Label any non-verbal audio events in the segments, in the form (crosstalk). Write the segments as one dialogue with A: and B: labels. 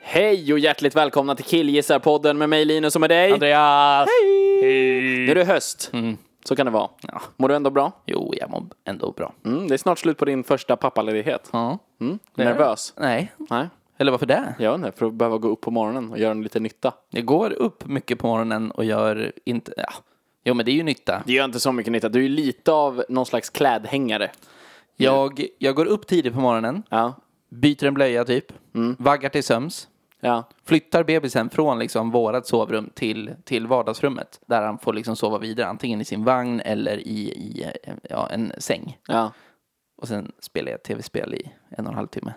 A: Hej och hjärtligt välkomna till Killgissarpodden med mig Linus och med dig.
B: Andreas!
A: Nu är det höst. Så kan det vara. Mår du ändå bra?
B: Jo, jag mår ändå bra.
A: Mm, det är snart slut på din första pappaledighet.
B: Ja.
A: Är du nervös?
B: Nej.
A: Nej.
B: Eller varför det?
A: Jag vet inte, för att behöva gå upp på morgonen och göra en liten nytta.
B: Jag går upp mycket på morgonen och gör inte... Ja. Jo, men det är ju nytta.
A: Det gör inte så mycket nytta. Du är lite av någon slags klädhängare.
B: Jag, jag går upp tidigt på morgonen,
A: Ja.
B: byter en blöja typ, vaggar till söms,
A: Ja.
B: flyttar bebisen från liksom vårat sovrum till, till vardagsrummet där han får liksom sova vidare, antingen i sin vagn eller i, i eh, ja, en säng.
A: Ja.
B: Och sen spelar jag tv-spel i en och en halv timme.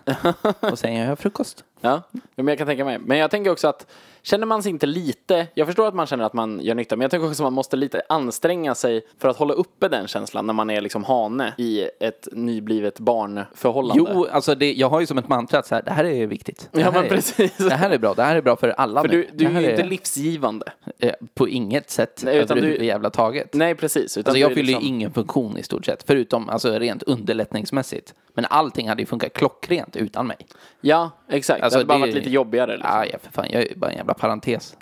B: och sen gör jag frukost.
A: Ja, jo, men jag kan tänka mig. Men jag tänker också att känner man sig inte lite, jag förstår att man känner att man gör nytta, men jag tänker också att man måste lite anstränga sig för att hålla uppe den känslan när man är liksom hane i ett nyblivet barnförhållande.
B: Jo, alltså det, jag har ju som ett mantra att så här, det här är viktigt. Det
A: Ja,
B: här
A: men
B: är,
A: precis.
B: Det här är bra, det här är bra för alla
A: för
B: nu.
A: du, du
B: det
A: är
B: här
A: ju inte
B: är,
A: livsgivande.
B: eh, På inget sätt
A: Nej, utan du-
B: överhuvudjävla taget.
A: Nej, precis. Utan
B: Alltså
A: du
B: jag
A: är
B: fyller ju
A: liksom-
B: ingen funktion i stort sett, förutom alltså rent underlättningsmässigt. Men allting hade ju funkat klockrent utan mig.
A: Ja, exakt.
B: Alltså,
A: det hade bara
B: det-
A: varit lite jobbigare. Liksom.
B: Ah, ja, för fan, jag är ju bara en jävla
A: (laughs)
B: parentes.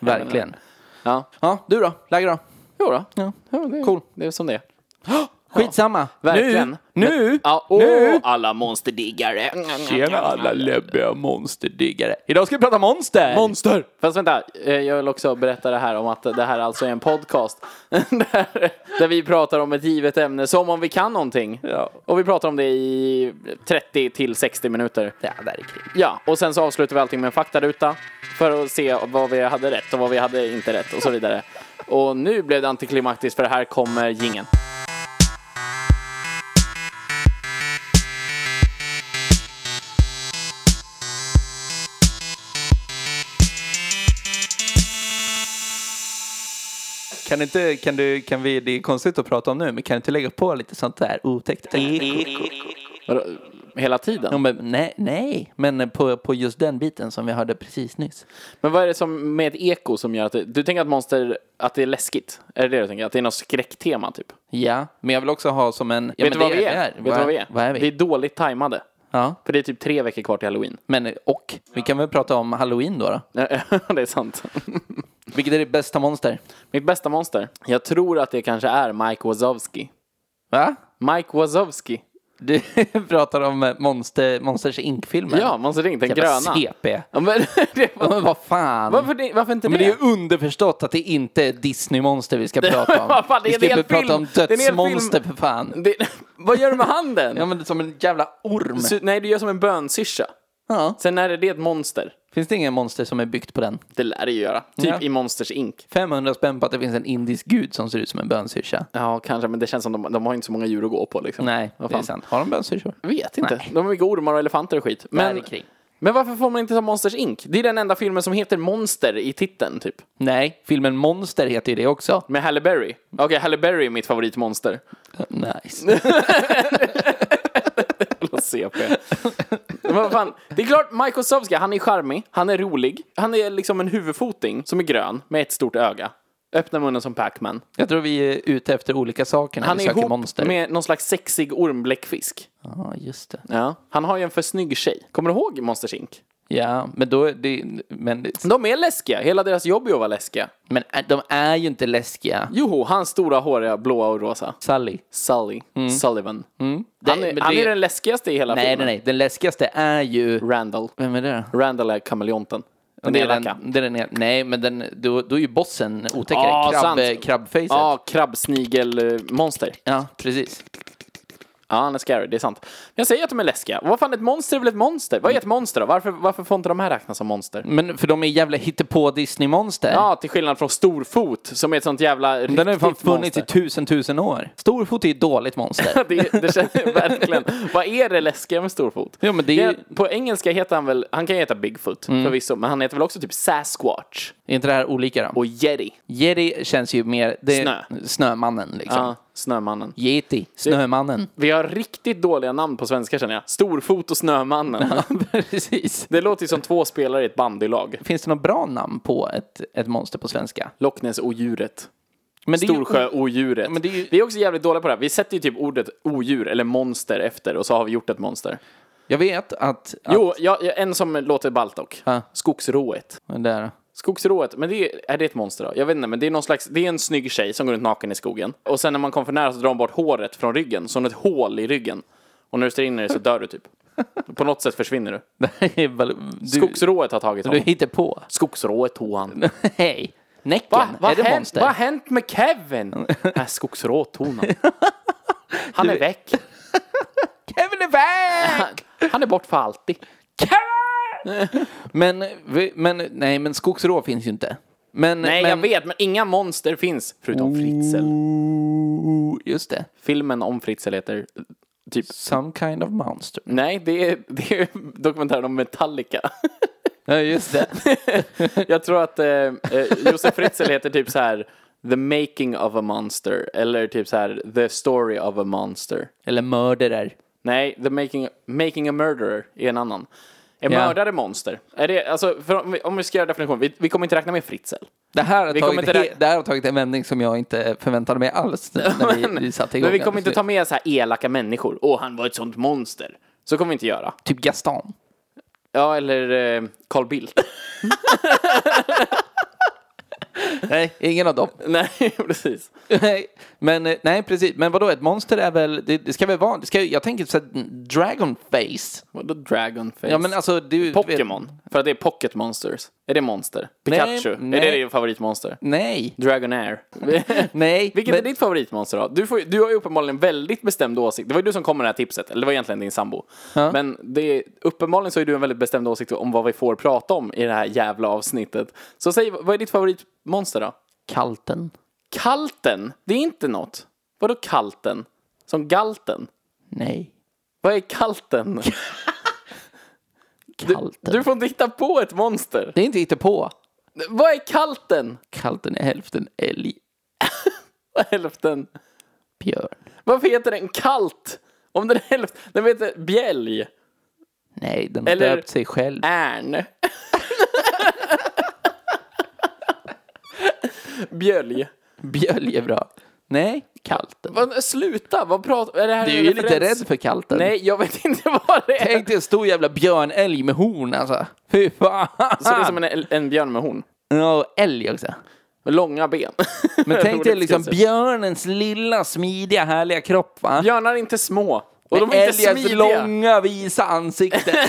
B: Verkligen.
A: Ja.
B: Ja, du då? Läge då?
A: Jo då.
B: Ja,
A: det,
B: cool.
A: det är som det är.
B: Skitsamma.
A: Mm. Verkligen.
B: Nu! Nu!
A: Ja, åh,
B: nu!
A: alla monsterdiggare.
B: Tjena alla läbbiga monsterdiggare. Idag ska vi prata monster!
A: Monster! Fast vänta, eh, jag vill också berätta det här om att det här alltså är en podcast. (laughs) där, där vi pratar om ett givet ämne som om vi kan någonting.
B: Ja.
A: Och vi pratar om det i 30 till 60 minuter.
B: Ja, där är krig.
A: Ja, och sen så avslutar vi allting med en faktaruta. För att se vad vi hade rätt och vad vi hade inte rätt och så vidare. Och nu blev det antiklimaktiskt för här kommer gingen.
B: Kan, inte, kan, du, kan vi, det är konstigt att prata om nu, men kan du inte lägga på lite sånt där otäckt? E.
A: Hela tiden.
B: Ja, men, nej, nej, men på, på just den biten som vi hörde precis nyss.
A: Men vad är det som med ett eko som gör att det, du tänker att monster, att det är läskigt? Är det det du tänker? Att det är något skräcktema typ?
B: Ja, men jag vill också ha som en... Ja,
A: Vet du
B: men
A: vad
B: det
A: vi är? Vet du vad vi är?
B: Vad är
A: Vi är
B: vi?
A: dåligt tajmade.
B: Ja,
A: För det är typ tre veckor kvar till halloween. (laughs)
B: men och, vi kan väl prata om halloween då? då?
A: det är sant. (laughs)
B: Vilket är det bästa monster?
A: Mitt bästa monster. Jag tror att det kanske är Mike Wazowski.
B: Va?
A: Mike Wazowski.
B: Du (laughs) pratar om eh, monster, Monsters Inc-filmen.
A: Ja, Monster Inc. Den
B: Jävla
A: gröna.
B: CP.
A: Ja, men, (laughs) det
B: Ja,
A: var,
B: Men (laughs) vad fan.
A: varför, det, varför inte
B: Ja, Men det
A: det?
B: är ju underförstått att det inte är Disney-monster
A: (laughs)
B: vi ska prata om.
A: Vad fan, det är
B: vi
A: en
B: ska inte
A: hel
B: prata
A: film.
B: om
A: Det är en hel film.
B: dödsmonster för fan.
A: det (laughs) vad gör du med handen?
B: Ja men som en jävla orm.
A: Sy- Nej, du gör som en bönsyrsa.
B: Ja.
A: Sen när är det ett monster?
B: Finns det ingen monster som är byggt på den?
A: Det lär det ju göra. Typ
B: Ja.
A: i Monsters Inc.
B: 500 spänn på att det finns en indisk gud som ser ut som en bönsyrsa.
A: Ja, kanske, men det känns som de, de har inte så många djur att gå på liksom.
B: Nej,
A: Vad
B: det är
A: fan.
B: sant. Har de bönsyrsor?
A: Jag vet inte.
B: Nej.
A: De har mycket ormar och elefanter och skit.
B: Där
A: Men,
B: ikring.
A: men varför får man inte ta Monsters Inc? Det är den enda filmen som heter Monster i titeln, typ.
B: Nej, filmen Monster heter ju det också.
A: Med Halle Berry. Okej, Halle Berry är mitt favoritmonster. (laughs)
B: Nice.
A: Jävla CP. Men vad fan, det är klart, Michael Sovsky, han är charmig, han är rolig, han är liksom en huvudfoting som är grön med ett stort öga. Öppna munnen som Pac-Man.
B: Jag tror vi är ute efter olika saker när
A: Han
B: vi
A: är
B: söker
A: ihop
B: monster.
A: med någon slags sexig ormbläckfisk.
B: Ja, just det.
A: Ja. Han har ju en för snygg tjej. Kommer du ihåg Monsters Inc?
B: Ja, men då... är Det, men, det-
A: De är läskiga, hela deras jobb är att vara läskiga.
B: men äh, de är ju inte läskiga.
A: Joho, hans stora håriga blåa och rosa.
B: Sally.
A: Sully. Sullivan. Han,
B: Mm. Det-
A: är,
B: men
A: han
B: det-
A: är den läskigaste i hela
B: Nej, nej,
A: filmen.
B: nej. Den läskigaste är ju...
A: Randall.
B: Vem är det då?
A: Randall är kameleonten. Den
B: Det är
A: elaka.
B: den, det är den, el- nej, men den, då, då är ju bossen otäckare.
A: Ja,
B: Krabb,
A: sant.
B: krabbfejset.
A: Ja, krabbsnigelmonster.
B: Ja, precis.
A: Ja, han är scary, det är sant. Men jag säger att de är läskiga. Vad fan, ett monster är väl ett monster? Vad är ett monster då? Varför, varför får inte de här räknas som monster?
B: Men för de är jävla hittepå Disney-monster.
A: Ja, till skillnad från Storfot som är ett sånt jävla riktigt
B: Den har ju fan funnits
A: monster.
B: i tusen tusen år. Storfot är ju ett dåligt monster.
A: (laughs) det, det känner jag verkligen. Vad är det läskiga med Storfot?
B: Jo, men det är ju- Mm.
A: på engelska heter han väl, han kan ju heta Bigfoot förvisso, men han heter väl också typ Sasquatch
B: är inte det här olika då?
A: och Yeti.
B: Jerry känns ju mer... Det,
A: Snö.
B: Snömannen liksom.
A: Ja, Mm. Snömannen.
B: Yeti, (laughs) Snömannen.
A: Vi har riktigt dåliga namn på svenska känner jag. Storfot och Snömannen.
B: Precis.
A: Det låter ju som två spelare i ett bandylag.
B: Finns det något bra namn på ett, ett monster på svenska?
A: Locknäs-odjuret.
B: Men det är ju-
A: Storsjöodjuret.
B: Men det är ju-
A: Vi är också jävligt dåliga på det här. Vi sätter ju typ ordet odjur eller monster efter och så har vi gjort ett monster.
B: Jag vet att... att
A: Jo, jag, jag, en som låter ballt dock.
B: Ja.
A: Skogsrået.
B: Men Där.
A: Skogsrået, men det är, är det ett monster då? Jag vet inte, men det är någon slags, det är en snygg tjej som går runt naken i skogen. Och sen när man kommer för nära så drar hon bort håret från ryggen, så hon har ett hål i ryggen. Och när du står in i det så dör du typ. På något sätt försvinner du.
B: Det här är väl- du,
A: Skogsrået har tagit
B: du
A: honom.
B: hittar på.
A: Skogsrået tog (laughs) han.
B: Hej. Näcken,
A: Va? Vad
B: är det
A: hänt-
B: monster?
A: Vad har hänt med (laughs) Kevin? Nej, Skogsrået tog (laughs) han. Han är väck.
B: Kevin är väg!
A: (laughs) Han är bort för alltid.
B: men, vi- men, nej, men skogsrå finns ju inte. Men,
A: Nej,
B: men,
A: jag vet, men Mm. inga monster finns. Förutom Fritzl.
B: Ooh, Just det.
A: Filmen om Fritzl heter typ
B: Some kind of monster.
A: Nej, det är, det är dokumentären om Metallica. (laughs)
B: Ja, just det.
A: Jag tror att eh, eh, Josef Fritzl heter typ så här The Making of a Monster eller typ så här The Story of a Monster.
B: (laughs) Eller mörderer.
A: Nej, The Making, making a Murderer är en annan. En
B: Ja.
A: mördare monster. Är det, alltså, för om, vi, om vi ska göra definition, vi, vi kommer inte räkna med Fritzl.
B: Det här, har
A: Vi
B: tagit,
A: kommer inte
B: he- det här har tagit en vändning som jag inte förväntade mig alls
A: (laughs)
B: när vi, vi satte igång.
A: Men vi
B: den.
A: kommer inte ta med så här elaka människor. Åh, han var ett sånt monster. Så kommer vi inte göra.
B: Typ Gaston.
A: Ja, eller eh, Carl Bildt.
B: Nej, ingen av
A: (laughs)
B: dem.
A: (laughs) Nej, precis.
B: Nej, men, eh, nej, precis. Men vadå, ett monster är väl... Det, det ska väl vara... Det ska, jag tänker så här, Dragonface.
A: Vadå Dragonface?
B: Ja, men alltså... Du,
A: Pokémon. För att det är Pocket Monsters. Är det monster? Pikachu?
B: nej.
A: Är det ditt favoritmonster?
B: nej.
A: Dragonair.
B: (laughs) Nej.
A: Vilket
B: men-
A: är ditt favoritmonster då? Du, får, ju- du har ju uppenbarligen väldigt bestämd åsikt. Det var ju du som kom med det här tipset, eller det var egentligen din sambo. Men det är, uppenbarligen så har ju du en väldigt bestämd åsikt om vad vi får prata om i det här jävla avsnittet. Så säg, vad är ditt favoritmonster då?
B: Kalten.
A: Kalten? Det är inte något. Vadå kalten? Som galten?
B: Nej.
A: Vad
B: (laughs)
A: är kalten?
B: Kalten.
A: Du får inte hitta på ett monster.
B: Det är inte hittepå.
A: Vad är kalten? (laughs)
B: Kalten är hälften älg,
A: Hälften.
B: björn.
A: Varför heter den kalt? Om den är hälften, den heter bjälj,
B: Nej, den har
A: Eller-
B: döpt sig själv.
A: ärn. bjälj.
B: Bjölj är bra. Nej, kalten.
A: Vad- Sluta, vad pratar, är det här
B: Du
A: en
B: är ju
A: referens?
B: lite rädd för kalten.
A: Nej, jag vet inte vad det är.
B: Tänk dig en stor jävla björnälg med horn alltså. Fy fan.
A: Så Alltså, det är som en, en björn med horn.
B: Ja, älg också.
A: Med långa (laughs) ben.
B: Men tänk dig
A: Roligt
B: liksom
A: sketch.
B: björnens lilla smidiga härliga kropp va?
A: Björnar är inte små. Och de är inte
B: Älgens
A: smidiga.
B: långa visa ansikte.
A: (laughs)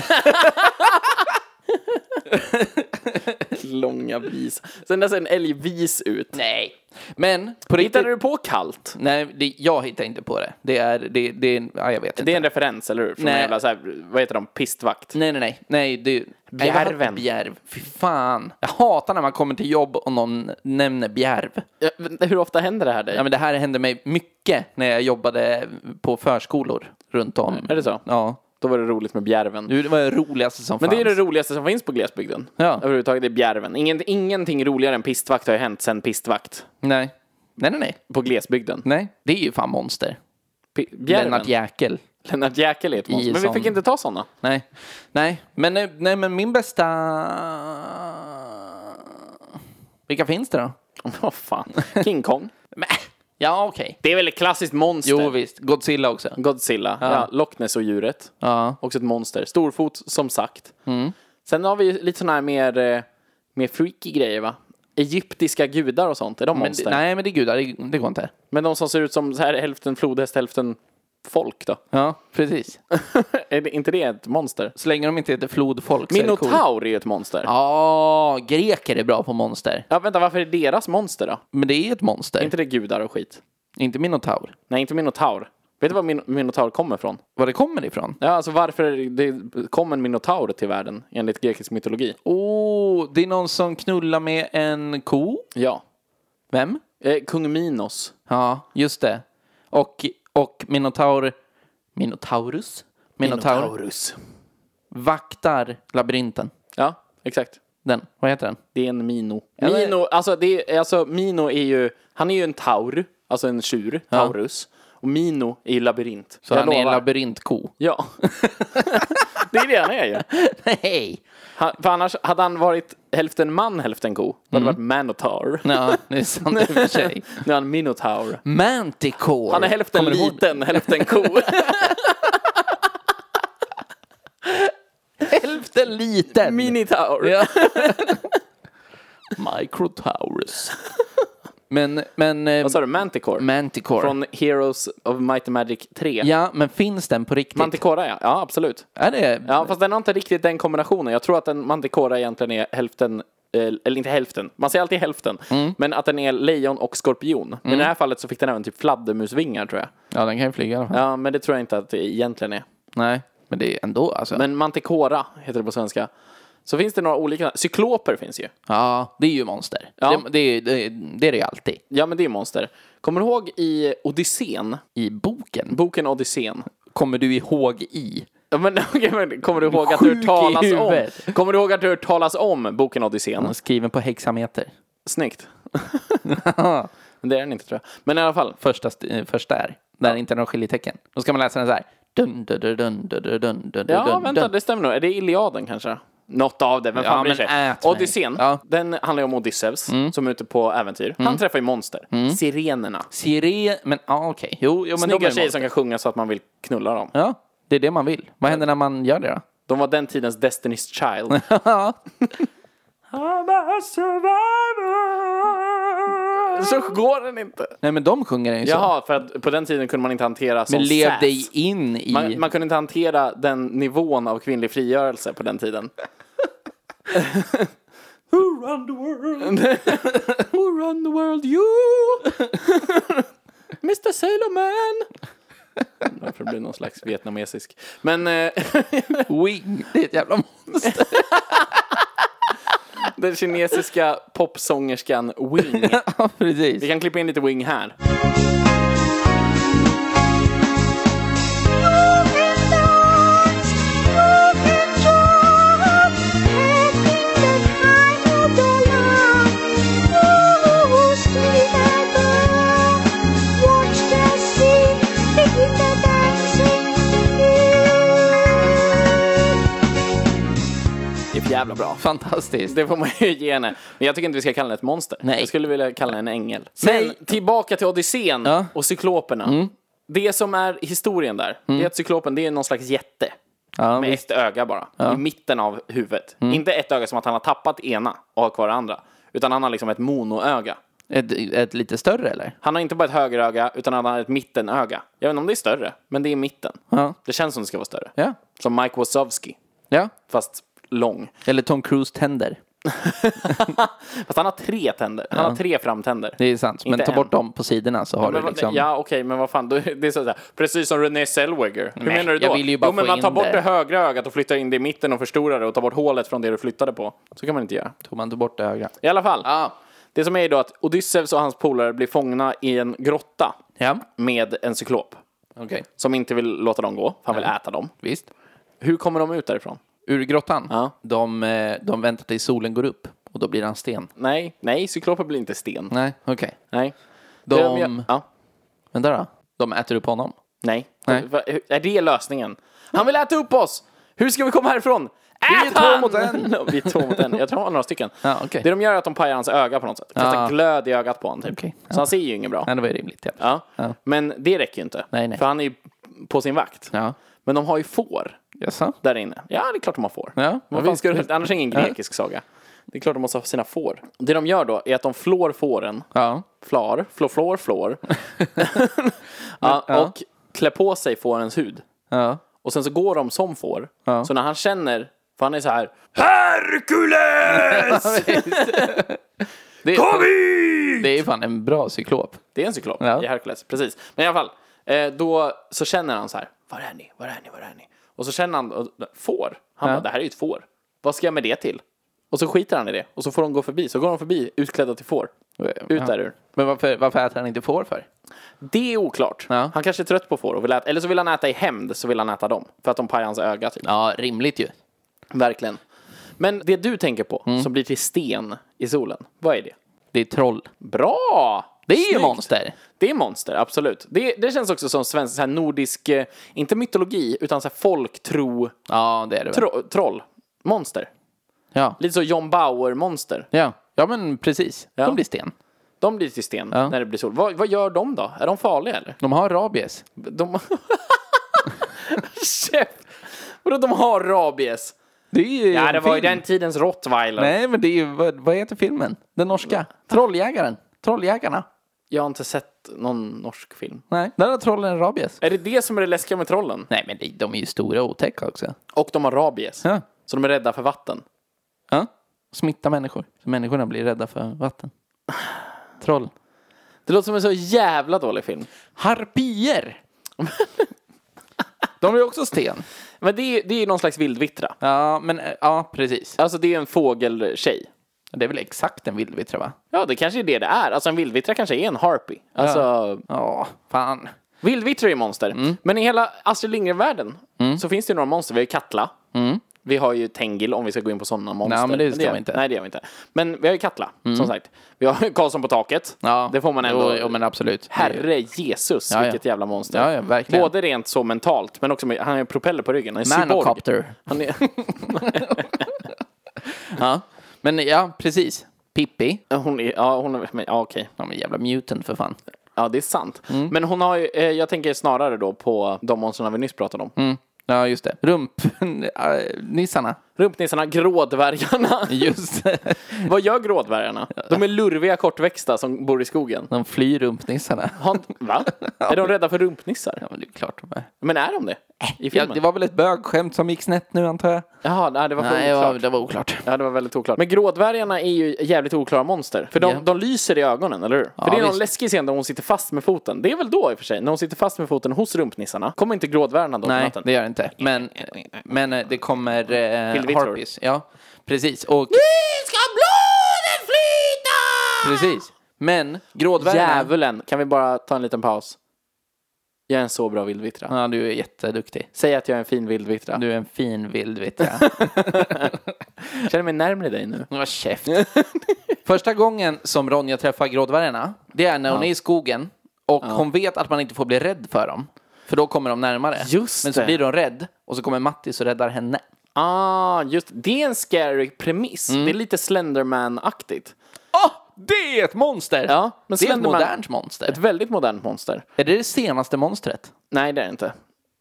A: Långa vis. Sen där ser en älg vis ut.
B: Nej. Men på riktigt.
A: Hittade du på kallt?
B: Nej, det, jag hittar inte på det. Det är, det, det är, ja, jag vet inte.
A: Det är en referens, eller hur? Från en
B: Nej.
A: jävla, så här, vad heter de, pistvakt?
B: Nej, nej, nej. nej det... Nej, vad-
A: Bjärven.
B: Bjärv. Fy fan. Jag hatar när man kommer till jobb och någon nämner bjärv.
A: Ja, men Hur ofta händer det här dig?
B: Ja, men det här hände mig mycket när jag jobbade på förskolor runt om.
A: Är det så?
B: Ja.
A: Då var det roligt med bjärven.
B: Du, Det var det roligaste som
A: men
B: fanns.
A: det är det roligaste som finns på glesbygden.
B: Ja.
A: Överhuvudtaget, det är bjärven. Ingen, ingenting roligare än pistvakt har ju hänt sen pistvakt.
B: Nej. Nej, nej, nej.
A: På glesbygden.
B: Nej. Det är ju fan monster.
A: Pi- bjärven.
B: Lennart Jäkel.
A: Lennart Jäkel är ett monster.
B: I
A: Men vi
B: sån-
A: fick inte ta sådana.
B: Nej. Nej. Men, eh, nej, men min bästa... Vilka finns det då?
A: (laughs) Vad fan. King Kong.
B: Men, ja, okej.
A: Det är väl ett klassiskt monster?
B: Jo, visst. Godzilla också.
A: Godzilla. Ja. Loch Ness och djuret.
B: Ja. Mm.
A: Också ett monster. Storfot, som sagt. Sen har vi ju lite sådana här mer, eh, mer freaky grejer, va? Egyptiska gudar och sånt. Är de
B: Men, det-
A: monster?
B: nej, men det är gudar. Det, det går inte.
A: Men de som ser ut som så här hälften flodhäst, hälften folk då? (laughs)
B: Ja, precis.
A: är det, inte det ett monster?
B: Så länge de inte heter flodfolk så är det coolt.
A: Minotaur är ju ett monster. Ja.
B: Ja, greker är bra på monster.
A: vänta, varför är deras monster då?
B: Men det är ett monster.
A: Är inte
B: Inte,
A: det gudar och skit?
B: minotaur.
A: Nej, inte minotaur. Vet du var min minotaur kommer ifrån?
B: Var det kommer ifrån?
A: Ja, alltså varför det kom en minotaur till världen enligt grekisk mytologi?
B: Oh, det är någon som knullar med en ko.
A: Ja.
B: Vem?
A: Eh, Kung Minos.
B: Ja, just det. Och, och Minotaur... Minotaurus? Minotaur vaktar labyrinten.
A: Ja, exakt.
B: Den. Vad heter den?
A: Det är en mino.
B: Eller-
A: Mino, alltså, det är, alltså Mino är ju, han är ju en taur, alltså en tjur, taurus. Och Mino är ju labyrint.
B: Så
A: Jag
B: han är en
A: lovar. (laughs)
B: labyrintko.
A: Ja. det är det han är ju.
B: Nej!
A: Han, för annars, hade han varit hälften man, hälften ko, då hade det varit manotaur.
B: Ja, det är sant Mm. i och för sig.
A: (laughs) Nu är han minotaur.
B: Manticore.
A: Han är hälften
B: Kommer du ihåg
A: liten,
B: (laughs)
A: hälften ko. (laughs)
B: det? Hälften liten.
A: Minitaur.
B: Ja. Microtaurus. Men, men... eh,
A: Vad sa du? Manticore?
B: Manticore.
A: Från Heroes of Might and Magic 3.
B: Ja, men finns den på riktigt?
A: Manticora ja, ja absolut.
B: är det...
A: Ja, fast den har inte riktigt den kombinationen. Jag tror att en manticora egentligen är hälften, eh, eller inte hälften, man säger alltid hälften,
B: Mm.
A: men att den är lejon och skorpion. Men i det här fallet så fick den även typ fladdermusvingar tror jag.
B: Ja, den kan ju flyga i alla fall.
A: Ja, men det tror jag inte att det egentligen är.
B: Nej, men det är ändå alltså.
A: Men manticora heter det på svenska. Så finns det några olika, cykloper finns ju.
B: Ja, det är ju monster.
A: Ja.
B: Det, det, är- det, är- det är det ju alltid.
A: Ja, men det är monster. Kommer du ihåg i Odysseen,
B: I boken.
A: boken Odysseen?
B: Kommer du ihåg i?
A: Ja, men, (laughs) okej, men kommer du ihåg att du har
B: Sjuk
A: hört
B: i
A: talas om?
B: huvudet.
A: Kommer du ihåg att du har hört talas om boken Odysseen?
B: Skriven på hexameter.
A: Snyggt. (laughs) Men det är den inte tror jag. Men i alla fall.
B: Första, st- eh, första är. Där är inte några skiljetecken. Då ska man läsa den så här. Dun, dun, dun, dun, dun, dun, dun, dun,
A: Ja,
B: dun,
A: vänta,
B: dun.
A: det stämmer nog. Är det Iliaden kanske? Något av det, vem fan
B: Ja,
A: bryr
B: men
A: sig?
B: ät mig.
A: Odysseen,
B: Ja. Mm.
A: den handlar ju om Odysseus som är ute på äventyr. Han träffar ju monster. Sirenerna.
B: Sire... Men ja, ah, okej. Jo, jo, men de
A: Snygga
B: är
A: tjejer
B: monster.
A: som kan sjunga så att man vill knulla dem.
B: Ja, det är det man vill. Vad händer när man gör det då?
A: De var den tidens Destiny's (laughs) Child. så går den inte.
B: Nej, men de sjunger den ju så.
A: Jaha, för att på den tiden kunde man inte hantera sån
B: Men lev
A: sass.
B: dig in i...
A: Man, man kunde inte hantera den nivån av kvinnlig frigörelse på den tiden. Who run the world? Who run the world? You! Mr Sailor Man! Varför blir det någon slags vietnamesisk? Men eh, (laughs)
B: Wing. Det är ett jävla monster.
A: den kinesiska popsångerskan Wing.
B: (laughs)
A: (laughs)
B: ja, precis.
A: Vi kan klippa in lite Wing här. Det är jävla bra.
B: Fantastiskt.
A: Det får man ju ge henne. Men jag tycker inte vi ska kalla henne ett monster.
B: Nej.
A: Jag skulle vilja kalla henne en ängel.
B: Nej.
A: Men tillbaka till Odysseen
B: Ja. Mm.
A: och cykloperna. Det som är historien där, det är att cyklopen det är någon slags jätte.
B: Ja,
A: med
B: visst. Mm.
A: ett öga bara. I mitten av huvudet. Inte ett öga som att han har tappat ena och har kvar det andra. Utan han har liksom ett monoöga.
B: Ett, ett lite större eller?
A: Han har inte bara ett högeröga, utan han har ett mittenöga. Jag vet inte om det är större, men det är i mitten.
B: Ja.
A: Det känns som det ska vara större.
B: Ja.
A: Som Mike Wazowski,
B: Ja.
A: fast lång.
B: Eller Tom Cruise tänder.
A: Fast han har tre tänder. Han har tre framtänder.
B: Det är sant. Men
A: Inte
B: ta bort
A: en.
B: dem på sidorna så har
A: Men
B: du
A: vad-
B: liksom...
A: Ja, okej, men vad fan. då- (laughs) Det är så här, precis som Renée Zellweger. Hur
B: Nej,
A: menar du då?
B: jag vill ju bara
A: jo, men
B: få
A: man
B: in
A: tar bort
B: det.
A: det. högra ögat och flyttar in det i mitten och förstorar det och tar bort hålet från det du flyttade på. Så kan man inte göra.
B: Tog man tog bort det högra.
A: I alla fall.
B: Ja.
A: Det som är då att Odysseus och hans polare blir fångna i en grotta
B: Ja.
A: med en cyklop.
B: Okej.
A: Som inte vill låta dem gå, för han vill äta dem.
B: Visst.
A: Hur kommer de ut därifrån?
B: Ur grottan.
A: Ja.
B: De, eh, de väntar tills solen går upp. Och då blir han sten.
A: Nej, nej, cykloper blir inte sten.
B: Nej, okej.
A: Nej.
B: De-
A: Ja, ja,
B: Vänta då. De äter upp honom.
A: nej.
B: Nej.
A: Va- hur- Är det lösningen? Han vill äta upp oss! Hur ska vi komma härifrån?
B: är
A: Ät
B: två
A: han!
B: mot en.
A: Ja, (laughs) Vi är två mot en. Jag tror han har några stycken.
B: Ja, okej.
A: Det de gör är att de pajar hans öga på något sätt. Kastar
B: Ja.
A: glöd i ögat på honom typ.
B: Okej.
A: Så han ser ju inget bra.
B: Nej, det var ju rimligt. Ja.
A: Ja.
B: Ja.
A: Men det räcker ju inte.
B: Nej, nej.
A: För han är ju på sin vakt.
B: Ja.
A: Men de har ju får.
B: Jaså?
A: där inne. Ja, det är klart de har får.
B: Ja,
A: Vad fan ska du, annars är det ingen grekisk saga. Det är klart de måste ha sina får. Det de gör då är att de flår fåren.
B: Ja.
A: Flar, flår,
B: (laughs)
A: flår, flår. (laughs) ja, och klär på sig fårens hud.
B: Ja.
A: Och sen så går de som får.
B: Ja.
A: Så när han känner, för han är så här.
C: (laughs)
A: Herkules!
B: Det är,
C: Kom hit!
B: det är fan en bra cyklop.
A: det är en cyklop
B: Ja.
A: i Herkules, precis. Men i alla fall. Eh, då så känner han så här, var är ni, var är ni, var är ni? Och så känner han, och- får? Han
B: Ja.
A: bara, det här är ju ett får. Vad ska jag med det till? Och så skiter han i det. Och så får de gå förbi. Så går de förbi utklädda till får. Ut därur.
B: Men varför, varför äter han inte får för?
A: Det är oklart.
B: Ja.
A: Han kanske är trött på får och vill äta, eller så vill han äta i hämnd, så vill han äta dem. För att de pajar hans öga typ.
B: Ja, rimligt ju.
A: Verkligen. Men det du tänker på,
B: Mm.
A: som blir till sten i solen, vad är det?
B: Det är troll.
A: Bra!
B: Det är ju
A: Snyggt.
B: monster.
A: Det är monster, absolut. Det, det känns också som svensk, så här nordisk, eh, inte mytologi, utan så här folktro,
B: Ja, det är det väl.
A: tro, troll, monster.
B: Ja.
A: Lite så John Bauer-monster.
B: Ja. ja, men precis.
A: Ja.
B: De blir sten.
A: De blir till sten
B: Ja.
A: när det blir sol. Vad, vad gör de då? Är de farliga eller?
B: De har rabies.
A: De... (laughs) Chef! Vadå, de har rabies?
B: Det är ju
A: Ja,
B: en
A: det var ju
B: film.
A: den tidens rottweiler.
B: Nej, men det är ju, vad, vad heter filmen? Den norska? Trolljägaren. Trolljägarna.
A: Jag har inte sett någon norsk film.
B: Nej, där har trollen rabies.
A: Är det det som är det läskiga med trollen?
B: Nej, men det- de är ju stora och otäcka också.
A: Och de har rabies.
B: Ja.
A: Så de är rädda för vatten.
B: ja. Smitta människor. Så människorna blir rädda för vatten. Troll.
A: Det låter som en så jävla dålig film.
B: Harpier! (laughs) de är också sten.
A: Men det är, det är någon slags vildvittra.
B: Ja, men eh, ja, precis.
A: Alltså det är en fågeltjej.
B: Det är väl exakt en vildvittra, va?
A: Ja, det kanske är det det är. Alltså en vildvittra kanske är en harpy. Alltså,
B: Ja, Mm. fan.
A: vildvittror är monster. Men i hela Astrid Lindgren-världen
B: Mm.
A: så finns det ju några monster. Vi har ju Katla. Vi har ju Tengil om vi ska gå in på sådana monster.
B: Nej, men det ska
A: gör-
B: vi inte. Mm.
A: Nej, det gör vi inte. Men vi har ju Katla, som sagt. Vi har (laughs) ju Karlsson på taket.
B: Ja,
A: Det får man ändå...
B: Jo, jo, men absolut. Det-
A: Herre Jesus,
B: Ja, ja.
A: vilket jävla monster.
B: Ja, ja, verkligen.
A: Både rent så mentalt, men också med, han har ju propeller på ryggen. Han är cyborg.
B: Manocopter.
A: Han är, (laughs)
B: Ja. Men ja, precis. Pippi.
A: hon är, ja, hon är, men, ja, okej.
B: De är jävla mutant för fan.
A: Ja, det är sant.
B: Mm.
A: Men hon har ju, eh, jag tänker snarare då på de monstren vi nyss pratade om.
B: Mm. Ja, just det. (laughs) Rump-nissarna.
A: Rumpnissarna, grådvärgarna.
B: Just det.
A: (laughs) Vad gör grådvärgarna? De är lurviga kortväxta som bor i skogen.
B: De flyr rumpnissarna.
A: Har inte-
B: (laughs)
A: Va? Är de rädda för rumpnissar?
B: Ja, men det är klart de är.
A: Men är de det? I
B: Äh, Ja,
A: filmen?
B: det var väl ett bögskämt som gick snett nu, antar jag?
A: Jaha, nej, det var för
B: Nej, det
A: oklart.
B: var, det var oklart.
A: Ja, det var väldigt oklart. Men grådvärgarna är ju jävligt oklara monster. För de,
B: Ja.
A: de lyser i ögonen, eller hur? För
B: Ja,
A: det är någon
B: visst.
A: läskig scen där hon sitter fast med foten. Det är väl då i och för sig, när hon sitter fast med foten hos rumpnissarna. Kommer inte grådvärgarna då på
B: Nej,
A: natten?
B: det gör det inte. Men, men eh, det kommer eh,
A: Vildvittror.
B: harpies. Ja, precis. Och
A: ska blodet flyta!
B: precis. Men grådvärgarna...
A: Djävulen, kan vi bara ta en liten paus? Jag är en så bra vildvittra.
B: Ja, du är jätteduktig.
A: Säg att jag är en fin vildvittra.
B: Du är en fin vildvittra. (laughs)
A: Jag känner mig närmare dig nu.
B: Vad käft. Första gången som Ronja träffar grådvärgarna, det är när hon är i skogen och hon vet att man inte får bli rädd för dem. För då kommer de närmare.
A: Just
B: Men så
A: det.
B: blir de rädd och så kommer Mattis och räddar henne.
A: Ah, just det. är en scary premiss. Det är lite Slenderman-aktigt.
B: Åh, Ah, det är ett monster!
A: Ja, men
B: det är ett
A: Slenderman-
B: modernt monster.
A: Ett väldigt modernt monster.
B: Är det det senaste monstret?
A: Nej, det är det inte.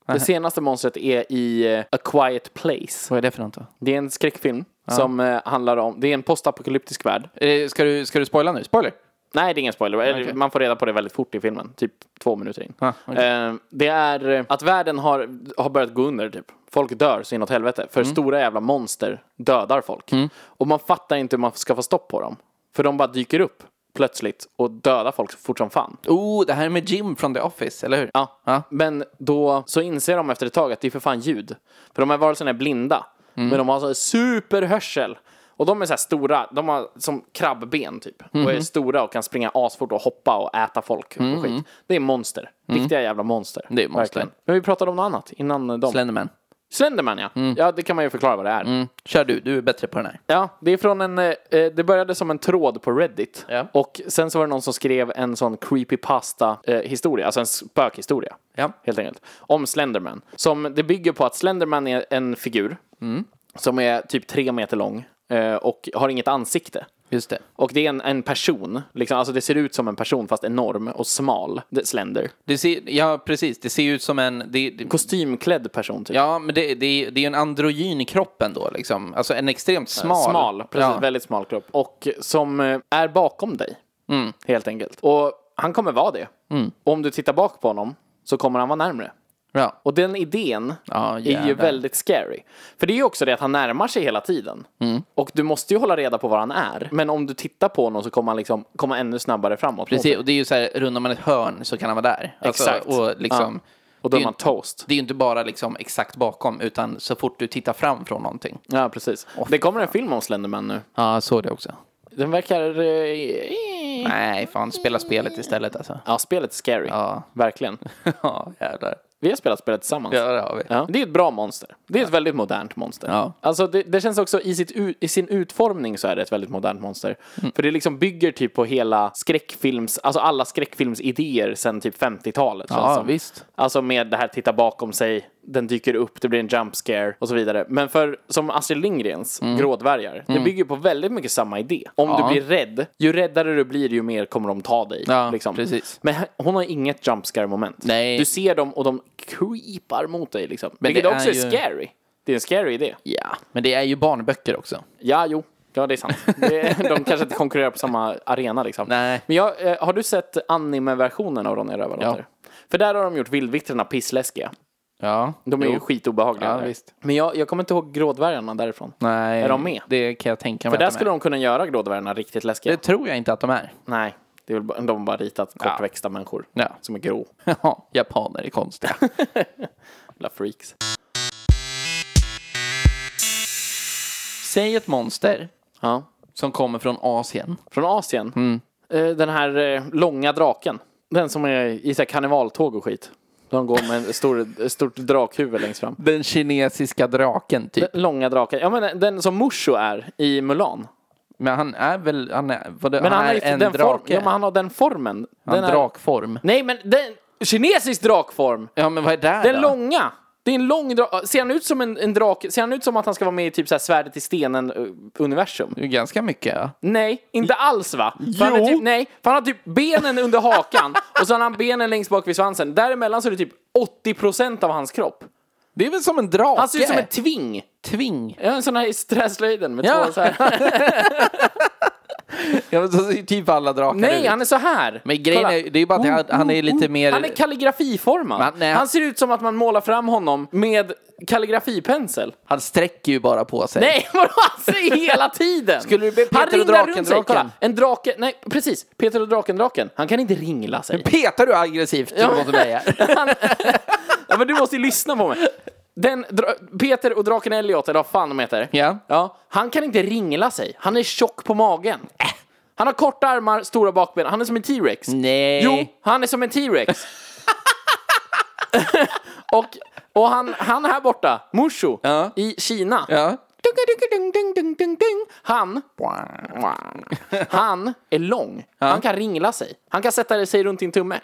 A: Det senaste monstret är i eh, A Quiet Place.
B: Vad är det för något då?
A: Det är en skräckfilm som eh, handlar om... Det är en postapokalyptisk värld.
B: Eh, Ska du, ska du spoila nu? Spoiler!
A: Nej, det är ingen spoiler. Eller,
B: Okej.
A: Man får reda på det väldigt fort i filmen. Typ två minuter in.
B: Ah, okej.
A: Eh, det är eh, att världen har, har börjat gå under. Typ. Folk dör så inåt helvete.
B: Mm.
A: För stora jävla monster dödar folk. Och man fattar inte hur man ska få stopp på dem. För de bara dyker upp plötsligt och dödar folk så fort som fan.
B: Oh, det här är med Jim från The Office, eller hur?
A: Ja.
B: Ja.
A: Men då så inser de efter ett tag att det är för fan ljud. För de här varelserna är blinda.
B: Mm.
A: Men de har så här superhörsel. Och de är så här stora, de har som krabbben typ. Och
B: Mhm.
A: är stora och kan springa asfort och hoppa och äta folk och skit. Det är monster. Riktiga jävla monster.
B: Mhm. Det är monster.
A: Verkligen. Men vi pratade om något annat innan de...
B: Slenderman.
A: Slenderman ja. Ja, det kan man ju förklara vad det är.
B: Mm. Kör du, du är bättre på den här.
A: Ja, det är från en, eh, eh, det började som en tråd på Reddit.
B: Ja.
A: Och sen så var det någon som skrev en sån creepypasta eh, historia, alltså en spökhistoria.
B: Ja.
A: Helt enkelt. Om Slenderman. Som det bygger på att Slenderman är en figur.
B: Mm.
A: Som är typ tre meter lång. eh, Och har inget ansikte.
B: Just det.
A: Och det är en, en person, liksom, alltså det ser ut som en person fast enorm och smal. Det- Slender.
B: det ser, ja, precis. Det ser ut som en... Det, det,
A: Kostymklädd person typ.
B: Ja, men det, det, det är ju en androgyn kropp ändå, liksom. Alltså en extremt smal.
A: Smal, precis.
B: Ja.
A: Väldigt smal kropp. Och som eh, är bakom dig.
B: Mm.
A: Helt enkelt. Och han kommer vara det. Och om du tittar bak på honom så kommer han vara närmre.
B: Ja.
A: Och den idén
B: Ja,
A: är ju
B: jävlar.
A: väldigt scary. För det är ju också det att han närmar sig hela tiden.
B: Mm.
A: Och du måste ju hålla reda på var han är. Men om du tittar på honom så kommer han liksom komma ännu snabbare framåt.
B: Precis, och det är ju så här, rundar man ett hörn så kan han vara där. Alltså,
A: Exakt.
B: Och, liksom,
A: Ja. Och
B: det
A: då är
B: ju-
A: man toast.
B: Det är ju inte bara liksom exakt bakom, utan så fort du tittar fram från någonting.
A: Ja, precis. det kommer en film om Slenderman nu.
B: Ja, jag såg det också.
A: Den verkar... eh,
B: Nej, fan, spela spelet istället alltså.
A: Ja, spelet är scary.
B: Ja.
A: Verkligen.
B: (laughs) ja, jävlar.
A: Vi har spelat spelet tillsammans.
B: Ja, det har vi.
A: Ja. Det är ett bra monster. Det är ett väldigt modernt monster.
B: Ja.
A: Alltså det, det känns också i, sitt, u- i sin utformning så är det ett väldigt modernt monster. För det liksom bygger typ på hela skräckfilms, alltså alla skräckfilmsidéer sen typ 50-talet. känns
B: Ja,
A: som.
B: visst.
A: Alltså med det här titta bakom sig, den dyker upp, det blir en jump scare och så vidare. Men för som Astrid Lindgrens Grådvärgar, det bygger på väldigt mycket samma idé. Om
B: Ja.
A: du blir rädd, ju räddare du blir ju mer kommer de ta dig.
B: Ja,
A: liksom.
B: precis.
A: Men he- hon har inget jump scare moment.
B: Nej.
A: Du ser dem och de creepar mot dig liksom.
B: Men
A: Vilket
B: det är
A: också är,
B: ju-
A: scary. Det är en scary idé.
B: Ja, men det är ju barnböcker också.
A: Ja, jo. Ja, det är sant. Det,
B: (laughs)
A: de kanske inte konkurrerar på samma arena liksom.
B: Nej.
A: Men jag, eh, har du sett anime-versionen av Ronja Rövardotter? För där har de gjort vildvittrarna pissläskiga.
B: Ja.
A: De är
B: Jo.
A: ju skitobehagliga.
B: Ja,
A: där.
B: visst.
A: Men jag, jag kommer inte ihåg grådvärgarna därifrån.
B: Nej.
A: Är de med?
B: Det kan jag tänka mig
A: För där
B: att
A: skulle
B: är.
A: de kunna göra grådvärgarna riktigt läskiga.
B: Det tror jag inte att de är. (laughs)
A: Nej, det är väl, bara- de har bara ritat kortväxta människor
B: Ja.
A: som är grå.
B: Ja, japaner är konstiga. (laughs)
A: Jävla freaks.
B: Säg ett monster
A: Ja.
B: som kommer från Asien.
A: Från Asien.
B: Mm.
A: Eh, Den här eh, långa draken. Den som är i så här karnevaltåg och skit. De går med en stor, ett stort drakhuvud längst fram.
B: Den kinesiska draken typ.
A: Den långa draken. Ja men den- den som Mushu är i Mulan.
B: Men han är väl, han är, vad det,
A: Men han,
B: han
A: har
B: är liksom
A: ju
B: Ah, en
A: den Form,
B: drake.
A: ja, men han har den formen.
B: han
A: Den är-
B: drakform.
A: Nej men den, kinesisk drakform.
B: Ja men vad är det
A: Den
B: då?
A: långa! Det är en lång drake. Ser han ut som en, en drake? Ser han ut som att han ska vara med i typ så här svärdet i eh, stenen-universum?
B: Det är Ganska mycket ja.
A: Nej, inte alls va? För han är
C: Jo.
A: typ, nej, för han har typ benen under hakan och så har han benen längst bak vid svansen. Däremellan så är det typ 80% av hans kropp.
B: Det är väl som en drake?
A: Han ser ut som en tving.
B: tving.
A: Ja, en sån här i träslöjden med
B: Ja.
A: två
B: (laughs)
A: så här.
B: Ja, men så ser ju typ alla drakar
A: Nej,
B: ut.
A: han är så här.
B: Men grejen
A: Kolla.
B: är ju- det är ju bara att Oh, han, han är lite mer...
A: Han är kalligrafiformad.
B: Men, nej, han-
A: han ser ut som att man målar fram honom med kalligrafipensel.
B: han sträcker ju bara på sig.
A: Nej, (laughs) vadå? Han säger hela tiden!
B: Skulle det bli Peter
A: han
B: och
A: ringlar
B: draken,
A: runt sig.
B: draken?
A: Kolla, en drake, nej precis, Peter och draken-draken, han kan inte ringla sig.
B: Petar du aggressivt ja. mot mig här?
A: Ja, men du måste ju lyssna på mig. Den, dra- Peter och draken Elliot, eller vad fan de heter.
B: Ja.
A: Ja, han kan inte ringla sig. Han är tjock på magen. Äh. Han har korta armar, stora bakben. Han är som en T-rex.
B: Nej.
A: Jo, han är som en T-rex.
B: (laughs)
A: och och han, han här borta, Mushu,
B: Ja.
A: i Kina.
B: (laughs) Ja.
A: Dung, dung, dung, dung, dung. Han, han är lång. Han kan ringla sig. Han kan sätta sig runt din tumme.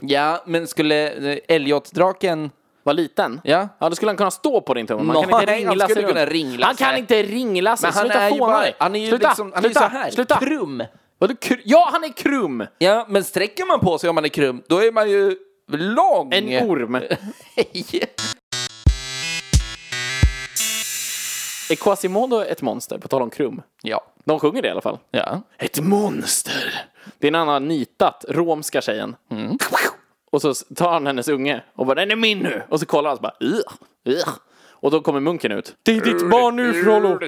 B: Ja, men skulle eh, Elliot-draken...
A: Var liten?
B: Ja.
A: Ja, då skulle han kunna stå på din tumme. Man
B: Nå,
A: kan inte
B: nej,
A: ringla
B: han skulle
A: sig runt.
B: kunna ringla
A: Han kan
B: sig.
A: inte ringla sig.
B: Men han
A: sluta
B: är ju
A: fåna
B: bara...
A: dig.
B: Han är ju
A: sluta,
B: liksom... Han är ju
A: sluta,
B: så här.
A: Sluta.
B: Krum.
A: Vadå kr- ja, han är krum.
B: Ja, men sträcker man på sig om man är krum, då är man ju lång. (laughs)
A: En orm. Är Quasimodo ett monster? På tal om krum.
B: ja.
A: De sjunger det i alla fall.
B: Ja.
A: Ett monster. Det är en annan nitat, romska tjejen.
B: Mm.
A: Och så tar han hennes unge och bara den är min nu. Och så kollar han så bara "Ugh, ugh." Och då kommer munken ut. Det är ditt barn nu Frollo.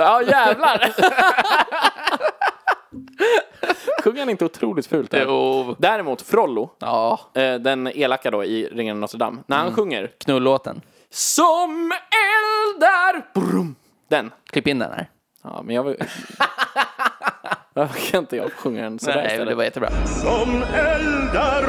A: Ja jävlar. (laughs) Sjunger han inte otroligt fult? Här?
B: Jo.
A: Däremot Frollo,
B: Ja.
A: eh, den elaka då i Ringen av Notre Dame, när han sjunger
B: Knullåten.
A: Som eldar. Brum. Den.
B: Klipp in den här.
A: Ja, men jag var... (laughs) Varför kan inte jag sjunga den sådär
B: Nej,
A: istället?
B: det var jättebra.
D: Som eldar,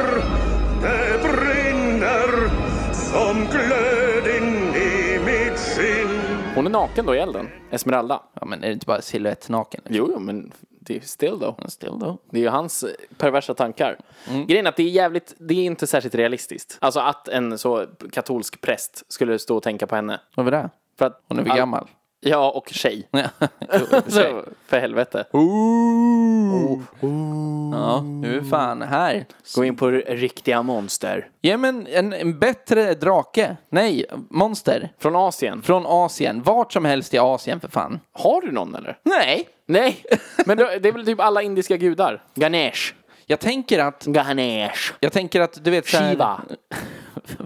D: det brinner som glöden i mitt skinn
A: Hon är naken då i elden, Esmeralda.
B: Ja, men är det inte bara siluettnaken? liksom?
A: Jo, jo, men det är still Mm. då.
B: Still though.
A: Det är ju hans eh, perversa tankar. Grejen är att det är jävligt, det är inte särskilt realistiskt. Alltså att en så katolsk präst skulle stå och tänka på henne.
B: Varför det?
A: För att,
B: Hon är väl
A: all-
B: gammal? (laughs)
A: Ja, och tjej.
B: Ja. Jo, i och för sig.
A: Så, för helvete.
B: ja, nu är fan här.
A: Gå in på riktiga monster.
B: Ja, men en, en bättre drake. Nej, monster.
A: Från Asien.
B: Från Asien. Vart som helst i Asien för fan.
A: (laughs) Har du någon eller?
B: Nej.
A: Nej, men då, det är väl typ alla indiska gudar? Ganesh.
B: Jag tänker att,
A: Ganesh.
B: jag tänker att du vet så här, (laughs)
A: Shiva.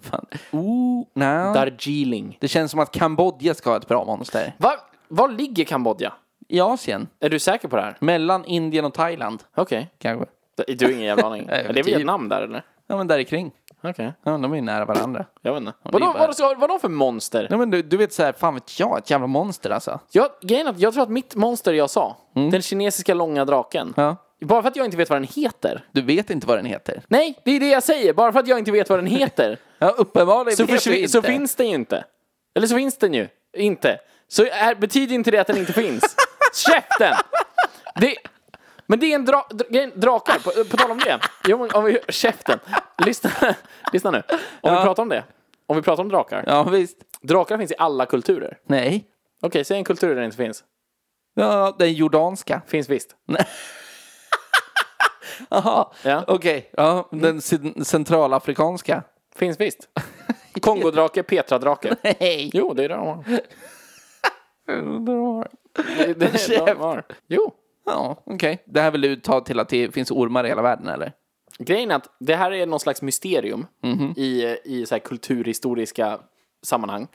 B: Fan. Ooh, nej.
A: Darjeeling.
B: Det känns som att Kambodja ska ha ett bra monster.
A: Va, var ligger Kambodja?
B: I Asien.
A: Är du säker på det här?
B: Mellan Indien och Thailand.
A: Okej.
B: Kanske.
A: Du har ingen jävla aning.
B: (laughs) Nej,
A: är det
B: men typ.
A: Vietnam där eller?
B: Ja men där i kring.
A: Okej.
B: Ja, de är ju nära varandra.
A: Jag vet inte.
B: det är
A: Vadå,
B: bara-
A: vadå, ska- vadå för monster?
B: Ja, men du, du vet så här, fan vet jag, ett jävla monster alltså.
A: Jag, grejen är att jag tror att mitt monster jag sa, den kinesiska långa draken,
B: Mm. Ja.
A: bara för att jag inte vet vad den heter.
B: Du vet inte vad den heter.
A: Nej, det är det jag säger. Bara för att jag inte vet vad
B: (laughs)
A: den heter
B: Ja, uppenbarligen
A: så,
B: vet du
A: försvin-
B: inte.
A: så finns den ju inte. Eller så finns den ju inte. Så är, betyder inte det att den
B: (laughs)
A: inte finns. Käften! Det, men det är en dra, dra, grejen- drakar, på, på tal om det. Jo, men om vi, käften! Lyssna, (laughs) lyssna nu. Om vi pratar om det. Om vi pratar om drakar.
B: Ja, visst.
A: Drakar finns i alla kulturer.
B: Nej.
A: Okej, säg en kultur där det inte finns.
B: Ja, den jordanska.
A: Finns visst.
B: (laughs) Jaha,
A: Ja.
B: okej. Ja, den cen- centralafrikanska.
A: Finns visst.
B: (laughs)
A: Kongodrake, Petradrake.
B: Nej.
A: Jo, det är det de har. Det är
B: (laughs)
A: det de
B: Käft.
A: har. Jo.
B: Ja, okej. Det här vill du ta till att det finns ormar i hela världen, eller?
A: Grejen är att det här är någon slags mysterium
B: Mhm.
A: i, i så här kulturhistoriska sammanhang.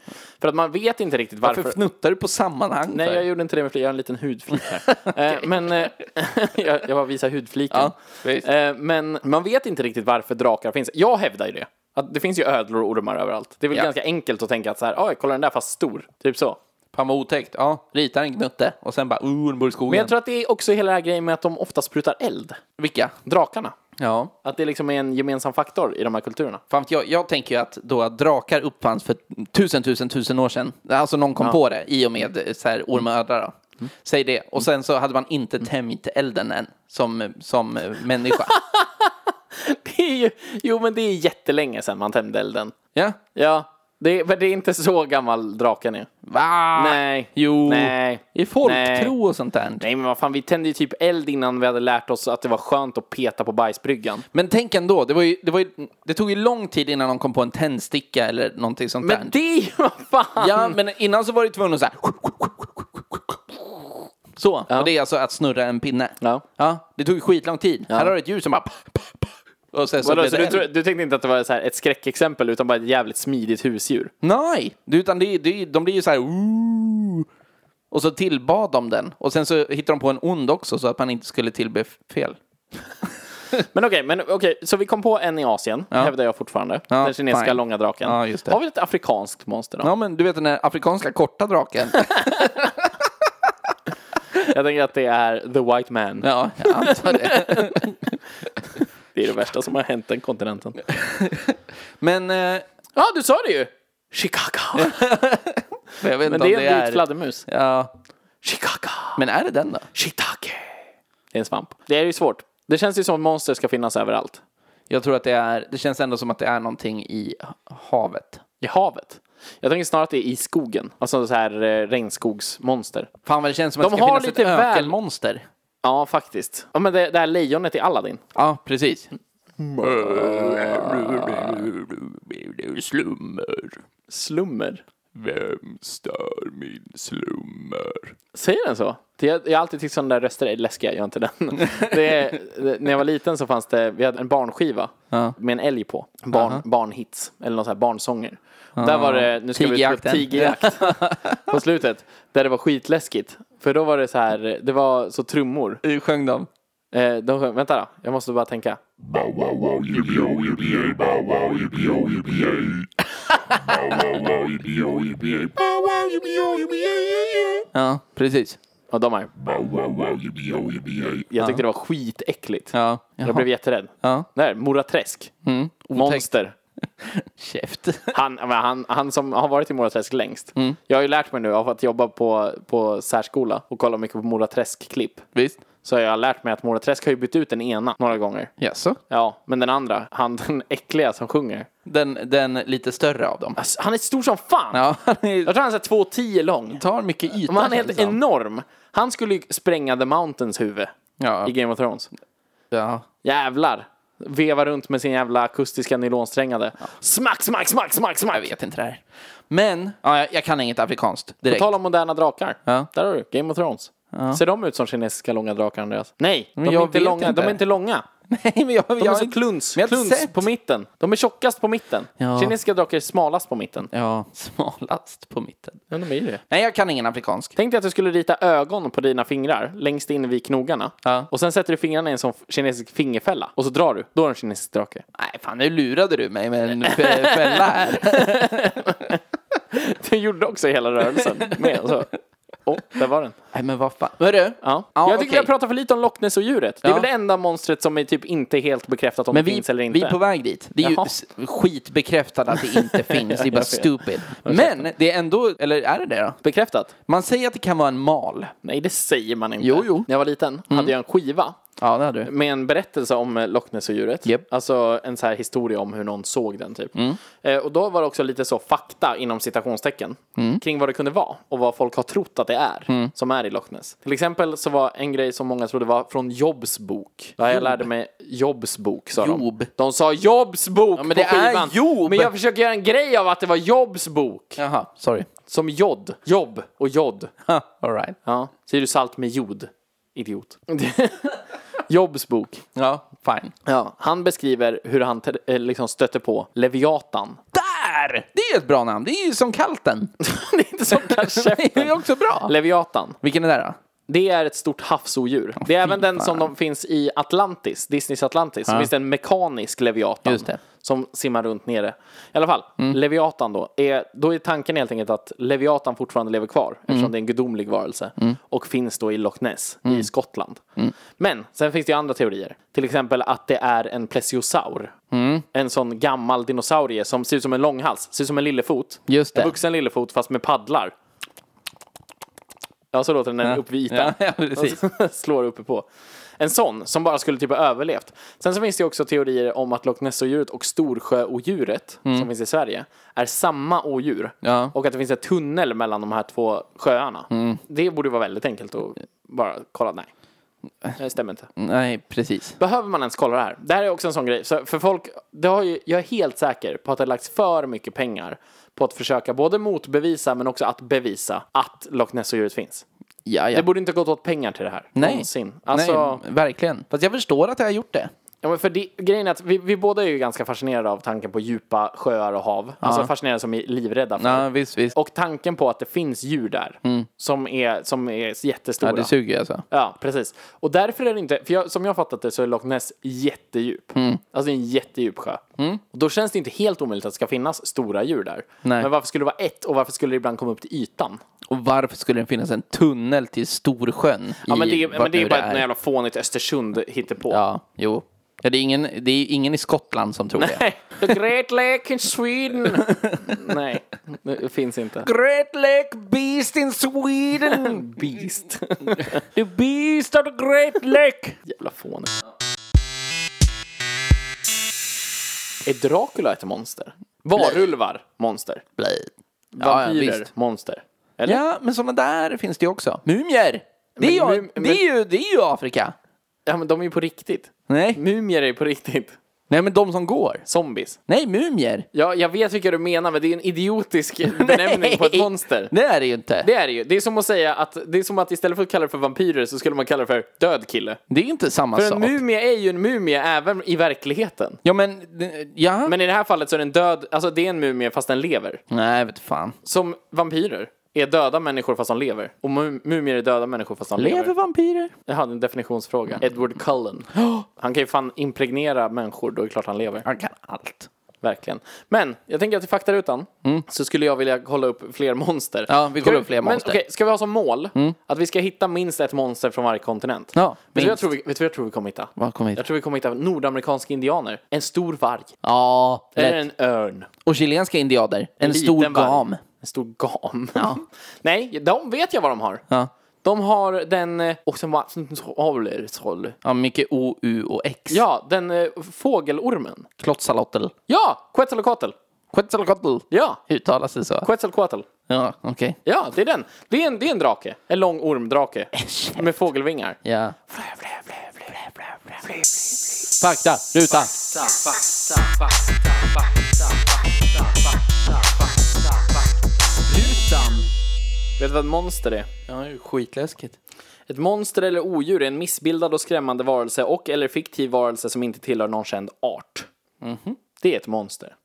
A: För att man vet inte riktigt varför.
B: Varför fnuttar du på sammanhang?
A: Nej,
B: för?
A: jag gjorde inte det med flit. Jag har en liten
B: (laughs)
A: hudflik här. Eh, Men eh, (laughs) jag, jag bara visar hudfliken.
B: Ja, visst.
A: Eh, Men man vet inte riktigt varför drakar finns. Jag hävdar ju det. Att det finns ju ödlor och ormar överallt. Det är väl
B: Ja.
A: ganska enkelt att tänka att så här, oj, kolla den där fast stor. Typ så.
B: Fan vad otäckt. Ja, ritar en knutte och sen bara orm bor i skogen.
A: Men jag tror att det är också hela den här grejen med att de ofta sprutar eld.
B: Vilka?
A: Drakarna.
B: Ja.
A: Att det liksom är en gemensam faktor i de här kulturerna.
B: Fan, vet jag, jag tänker ju att då att drakar uppfanns för tusen, tusen, tusen år sedan. Alltså någon kom på det i och med eh, så här ormödla då.
A: Mm.
B: Säg det. Och sen så hade man inte tämjt elden än som, som eh,
A: (laughs)
B: människa.
A: Det är ju, jo, men det är jättelänge sedan man tämjde elden.
B: ja.
A: Ja, det, men det är inte så gammal draken är. Ah,
B: Va?
A: Nej.
B: Jo.
A: Nej.
B: I folktro och sånt där.
A: Nej, men vad fan, vi tände ju typ eld innan vi hade lärt oss att det var skönt att peta på bajsbryggan.
B: Men tänk ändå, det, var ju, det, var ju, det tog ju lång tid innan de kom på en tändsticka eller någonting sånt
A: Men
B: där.
A: det är ju vad fan!
B: Ja, men innan så var det tvungen att så här... Så, och det är alltså att snurra en pinne.
A: Ja.
B: det tog ju skitlång tid. Här har du ett djur som bara... Och sen så
A: Vadå,
B: blev
A: så
B: det
A: du,
B: eld.
A: tror- du tänkte inte att det var så här ett skräckexempel utan bara ett jävligt smidigt husdjur?
B: Nej, det- utan det, det, de blir ju så här... "Ooh." Och så tillbad de den. Och sen så hittade de på en ond också så att man inte skulle tillbe f- fel.
A: Men okej, men okej, så vi kom på en i Asien, hävdar jag fortfarande.
B: Ja,
A: den kinesiska
B: fine.
A: långa draken.
B: Ja, just det.
A: Har vi ett afrikanskt monster då?
B: Ja, men du vet den där afrikanska korta
A: (laughs)
B: draken.
A: Jag tänker att det är the white man.
B: ja, jag antar det.
A: Det är det värsta som har hänt den kontinenten.
B: Men eh,
A: Ja, du sa det ju! Chicago.
B: jag vet
A: Men
B: inte
A: det
B: om
A: är en vit fladdermus.
B: Ja,
A: Chicago.
B: men är det den då?
A: Shiitake. Det är en svamp. Det är ju svårt. Det känns ju som att monster ska finnas överallt.
B: Jag tror att det är, det känns ändå som att det är någonting i havet.
A: I havet. Jag tänker snarare att det är i skogen. Alltså så här eh, regnskogsmonster.
B: Fan vad det känns som att
A: De
B: det ska
A: har
B: finnas
A: lite
B: ett
A: väl-
B: ökenmonster.
A: Ja, faktiskt. Ja, men det, det här lejonet i Aladdin.
B: Ja, precis.
A: Slummer.
E: Vem stör min slummer?
A: Säger den så? Det, jag, jag har alltid tyckt sådana där röster är läskiga, gör inte den.
E: (laughs)
A: Det är, det, när jag var liten så fanns det, vi hade en barnskiva med en älg på. Barn, Barnhits, eller någon sån här barnsånger. Där var det, nu ska vi ut på
B: Tigerjakten.
A: tigerjakt
E: (laughs)
A: på slutet. Där det var skitläskigt. För då var det så här, det var så trummor.
B: Hur sjöng de?
A: Eh, de sjöng, vänta då, jag måste bara tänka.
E: Bow wow wow yippee oh yippee yay, bow wow yippee oh yippee yay. Bow wow wow yippee oh yippee yay, bow wow yippee oh yippee yay, yay, yay.
B: Ja, precis.
A: Ja, de här.
E: Bow wow wow yippee oh yippee yay.
A: Jag tyckte det var skitäckligt.
B: Ja.
A: Jag blev jätterädd.
B: Ja. Mm.
A: Där, Mora Träsk. Monster.
B: Käft.
A: Han, men han, han som har varit i Mora Träsk längst.
B: Mm.
A: Jag har ju lärt mig nu av att jobba på, på särskola och kolla mycket på Mora Träsk-klipp.
B: (laughs) Visst?
A: Så jag har lärt mig att Mora Träsk har ju bytt ut den ena några gånger.
B: Jaså?
A: Ja, men den andra, han (laughs) den äckliga som sjunger.
B: Den, den lite större av dem.
A: Alltså, han är stor som fan!
B: Ja, han
A: Jag
B: är,
A: tror han är så här 2,10 lång.
B: tar mycket yta.
A: Men han är
B: känns
A: helt
B: det som.
A: enorm. Han skulle ju spränga The Mountains huvud
B: Ja.
A: i Game of Thrones.
B: Ja.
A: Jävlar! Veva runt med sin jävla akustiska nylonsträngade. Smack, smack, smack, smack,
B: Jag
A: smack!
B: vet inte det här. Men, ja, jag, jag kan inget afrikanskt direkt.
A: Tala om moderna drakar.
B: Ja.
A: Där har du, Game of Thrones. Ser de ut som kinesiska långa drakar, Andreas? Nej, de är,
B: jag
A: inte
B: vet
A: långa.
B: inte.
A: de är inte långa.
B: (laughs) (laughs) Nej, men jag,
A: De
B: jag,
A: är så kluns,
B: men jag har
A: kluns
B: sett-
A: på mitten. De är tjockast på mitten.
B: Ja.
A: Kinesiska drakar är smalast på mitten.
B: Ja, (laughs) smalast på mitten.
A: Ja, de är ju det.
B: Nej, jag kan ingen afrikansk.
A: Tänk dig att du skulle rita ögon på dina fingrar längst in vid knogarna.
B: Ja.
A: Och sen sätter du fingrarna i en sån f- kinesisk fingerfälla. Och så drar du. Då är det en kinesisk drake.
B: Nej, fan nu lurade du mig med en fä- fälla här.
A: (laughs) Du gjorde också hela rörelsen med. och Så.
B: (laughs)
A: Åh, där var den.
B: (laughs) Nej, men vad fan. Hörru,
A: Ja.
B: Ja,
A: jag tycker
B: okej.
A: vi har pratat för lite om Loch Ness och djuret. Det är
B: Ja.
A: väl det enda monstret som är typ inte helt bekräftat om
B: men
A: det
B: vi,
A: finns eller inte.
B: vi är på väg dit. Det är ju
A: Jaha.
B: s- skitbekräftat att det (laughs) inte finns, det är bara stupid. Men det är ändå, eller är det det då?
A: Bekräftat?
B: Man säger att det kan vara en mal.
A: Nej, det säger man inte.
B: Jo, jo. Mm.
A: När jag var liten hade jag en skiva
B: Ja, det hade du.
A: med en berättelse om eh, Loch Ness och djuret.
B: Japp. Mm.
A: Alltså en så här historia om hur någon såg den typ. Eh, och då var det också lite så fakta inom citationstecken
B: Mm.
A: kring vad det kunde vara och vad folk har trott att det är som är i Loch Ness. Till exempel så var en grej som många trodde var från Jobs bok. Där jag lärde mig Jobs bok sa
B: Job.
A: de. De sa Jobs bok
B: men
A: på
B: det är
A: skivan.
B: Job.
A: Men jag försöker göra en grej av att det var Jobs bok.
B: Jaha, sorry.
A: Som jod. Jobb och
B: (laughs)
A: jod.
B: Ha, All right.
A: Ja. Säger du salt med jod? Idiot. (laughs) Jobs bok.
B: Ja, fine.
A: Ja, han beskriver hur han te- eh, liksom stötte på Leviatan.
B: Där! Det är ju ett bra namn. Det är ju som (laughs) Kalten.
A: (laughs) det är inte som
B: det är
A: kanske.
B: också bra.
A: Leviatan.
B: Vilken är det där då?
A: Det är ett stort havsodjur. Det är även den som de finns i Atlantis, Disneys Atlantis. Så finns det en mekanisk Leviatan
B: Just det. Mm.
A: som simmar runt nere. I alla fall, Leviatan då. Är, då är tanken helt enkelt att Leviatan fortfarande lever kvar eftersom
B: Mm.
A: det är en gudomlig varelse och finns då i Loch Ness i Skottland.
B: Mm.
A: Men sen finns det ju andra teorier. Till exempel att det är en plesiosaur.
B: Mm.
A: En sån gammal dinosaurie som ser ut som en långhals, ser ut som en lillefot.
B: Just
A: En
B: det.
A: vuxen lillefot fast med paddlar. Ja, så låter den när den är uppe vid ytan.
B: Ja, (laughs) ja, precis.
A: Alltså, (laughs) Slår uppe på. En sån som bara skulle typ ha överlevt. Sen så finns det ju också teorier om att Loch Ness-odjuret och Storsjöodjuret som finns i Sverige är samma odjur.
B: Mm. Ja. Mm.
A: Och att det finns en tunnel mellan de här två sjöarna. Det borde vara väldigt enkelt att bara kolla. Nej, det stämmer inte.
B: Nej, precis.
A: Behöver man ens kolla det här? Det här är också en sån grej. Så för folk, det har ju, jag är helt säker på att det har lagts för mycket pengar på att försöka både motbevisa men också att bevisa att Loch Ness-odjuret finns.
B: Ja, ja.
A: Det borde inte ha gått åt pengar till det här.
B: Nej.
A: Någonsin. Alltså,
B: Nej, verkligen. Fast jag förstår att jag har gjort det.
A: ja, men för det, grejen är att vi, vi båda är ju ganska fascinerade av tanken på djupa sjöar och hav. Alltså fascinerade som är livrädda för.
B: Ja, visst, visst.
A: Och tanken på att det finns djur där som, är, som är jättestora.
B: Ja, det suger ju alltså.
A: Ja, precis. Och därför är det inte, för jag, som jag har fattat det så är Loch Ness jättedjup.
B: Mm.
A: Alltså det är en jättedjup sjö. Och då känns det inte helt omöjligt att det ska finnas stora djur där.
B: Nej.
A: Men varför skulle det vara ett och varför skulle det ibland komma upp till ytan?
B: Och varför skulle det finnas en tunnel till Storsjön?
A: Ja,
B: i
A: men det, är-
B: vad
A: men det är
B: nu
A: ju bara ett
B: är?
A: jävla fånigt Östersund hittepå.
B: Ja, jo. Ja, det, är ingen, det är ingen i Skottland som tror det.
A: The Great Lake in Sweden! Nej, det finns inte.
B: Great Lake Beast in Sweden!
A: (laughs)
B: (laughs)
A: Beast.
B: the Beast of the Great Lake!
A: Jävla fånigt. Är Dracula ett monster? Varulvar, monster.
B: Blade. Ja,
A: Vampyrer,
B: ja, visst.
A: monster. Eller?
B: Ja, men sådana där finns det ju också. Mumier! Det är, ju,
A: Men mum-
B: det, är ju, det är ju Afrika.
A: Ja men de är ju på riktigt.
B: Nej.
A: Mumier är ju på riktigt.
B: Nej, men de som går.
A: Zombies.
B: Nej, mumier.
A: Ja, jag vet vilka du menar men det är en idiotisk benämning på
B: (laughs)
A: ett
B: Nej,
A: monster.
B: Det är det ju inte.
A: Det är det ju. Det är som att säga att, det är som att istället för att kalla det för vampyrer så skulle man kalla det för död kille.
B: Det är ju inte samma
A: För
B: sak.
A: en mumie är ju en mumie även i verkligheten.
B: Ja, men... det- Ja.
A: Men i det här fallet så är den död, alltså det är en mumie fast den lever.
B: Nej, vet fan.
A: Som vampyrer är döda människor fast de lever. Och mu- mumier är döda människor fast de lever.
B: Lever vampyrer?
A: Jag hade en definitionsfråga. Edward Cullen. (gasps) Han kan ju fan impregnera människor, då är det klart han lever.
B: Han kan allt.
A: Verkligen. Men jag tänker att i faktarutan så skulle jag vilja kolla upp fler monster.
B: Mm. Ja, vi
A: Ska
B: kollar upp fler monster. Mm.
A: Men, okej, ska vi ha som mål att vi ska hitta minst ett monster från varje kontinent?
B: Ja,
A: vet du vad jag
B: minst.
A: tror vi, vet du vad jag tror vi kommer hitta?
B: Vad kommer vi hitta?
A: Jag tror vi kommer hitta nordamerikanska indianer. En stor varg.
B: Ja, lätt.
A: Eller en örn.
B: Och chilenska indiader. En
A: Liten
B: stor
A: varg.
B: gam.
A: En stor gam. (laughs) Nej, de vet jag vad de har.
B: Ja.
A: De har den... eh, Och sen vad-
B: ja, mycket O, U och X.
A: Ja, den eh, fågelormen.
B: Klotsalotl.
A: Ja, Quetzalcoatl.
B: Quetzalcoatl.
A: Ja,
B: Uttalas det så?
A: Quetzalcoatl.
B: Ja, okej.
A: Ja, det är den. Det är en, det är en drake. En lång ormdrake. Med fågelvingar.
B: Ja. Fakta, ruta.
A: Vet du vad ett monster är?
B: Ja, det är ju skitläskigt.
A: Ett monster eller odjur är en missbildad och skrämmande varelse och eller fiktiv varelse som inte tillhör någon känd art. Mhm. Det är ett monster.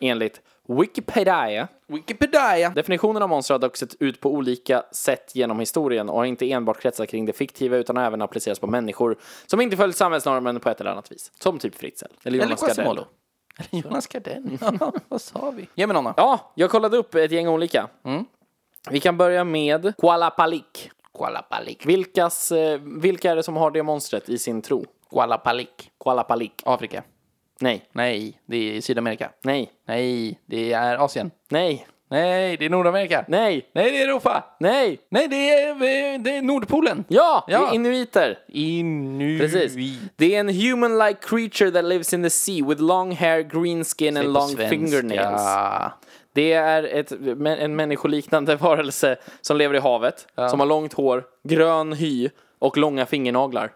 A: Enligt Wikipedia
B: Wikipedia!
A: Definitionen av monster har dock sett ut på olika sätt genom historien och har inte enbart kretsat kring det fiktiva utan har även applicerats på människor som inte följt samhällsnormen på ett eller annat vis. Som typ Fritzl. Eller
B: Eller
A: Jonas Gardell.
B: Quasimodo. Eller Jonas (laughs) Gardell. Ja, vad sa vi? Ge mig någon då.
A: Ja, jag kollade upp ett gäng olika.
B: Mm.
A: Vi kan börja med Kualapalik.
B: Kualapalik.
A: Vilkas, eh, vilka är det som har det monstret i sin tro?
B: Kualapalik.
A: Kualapalik.
B: Afrika.
A: Nej,
B: Nej, det är Sydamerika.
A: nej,
B: Nej, det är Asien.
A: nej,
B: Nej, det är Nordamerika.
A: nej,
B: Nej, det är Europa.
A: nej.
B: Nej, det är, eh, det är Nordpolen.
A: Ja, det
B: Ja.
A: är inuiter.
B: Inuit.
A: Precis. Det är en human-like creature that lives in the sea with long hair, green skin and long fingernails. Det är ett, men- en människoliknande (laughs) varelse som lever i havet, som har långt hår, grön hy och långa fingernaglar.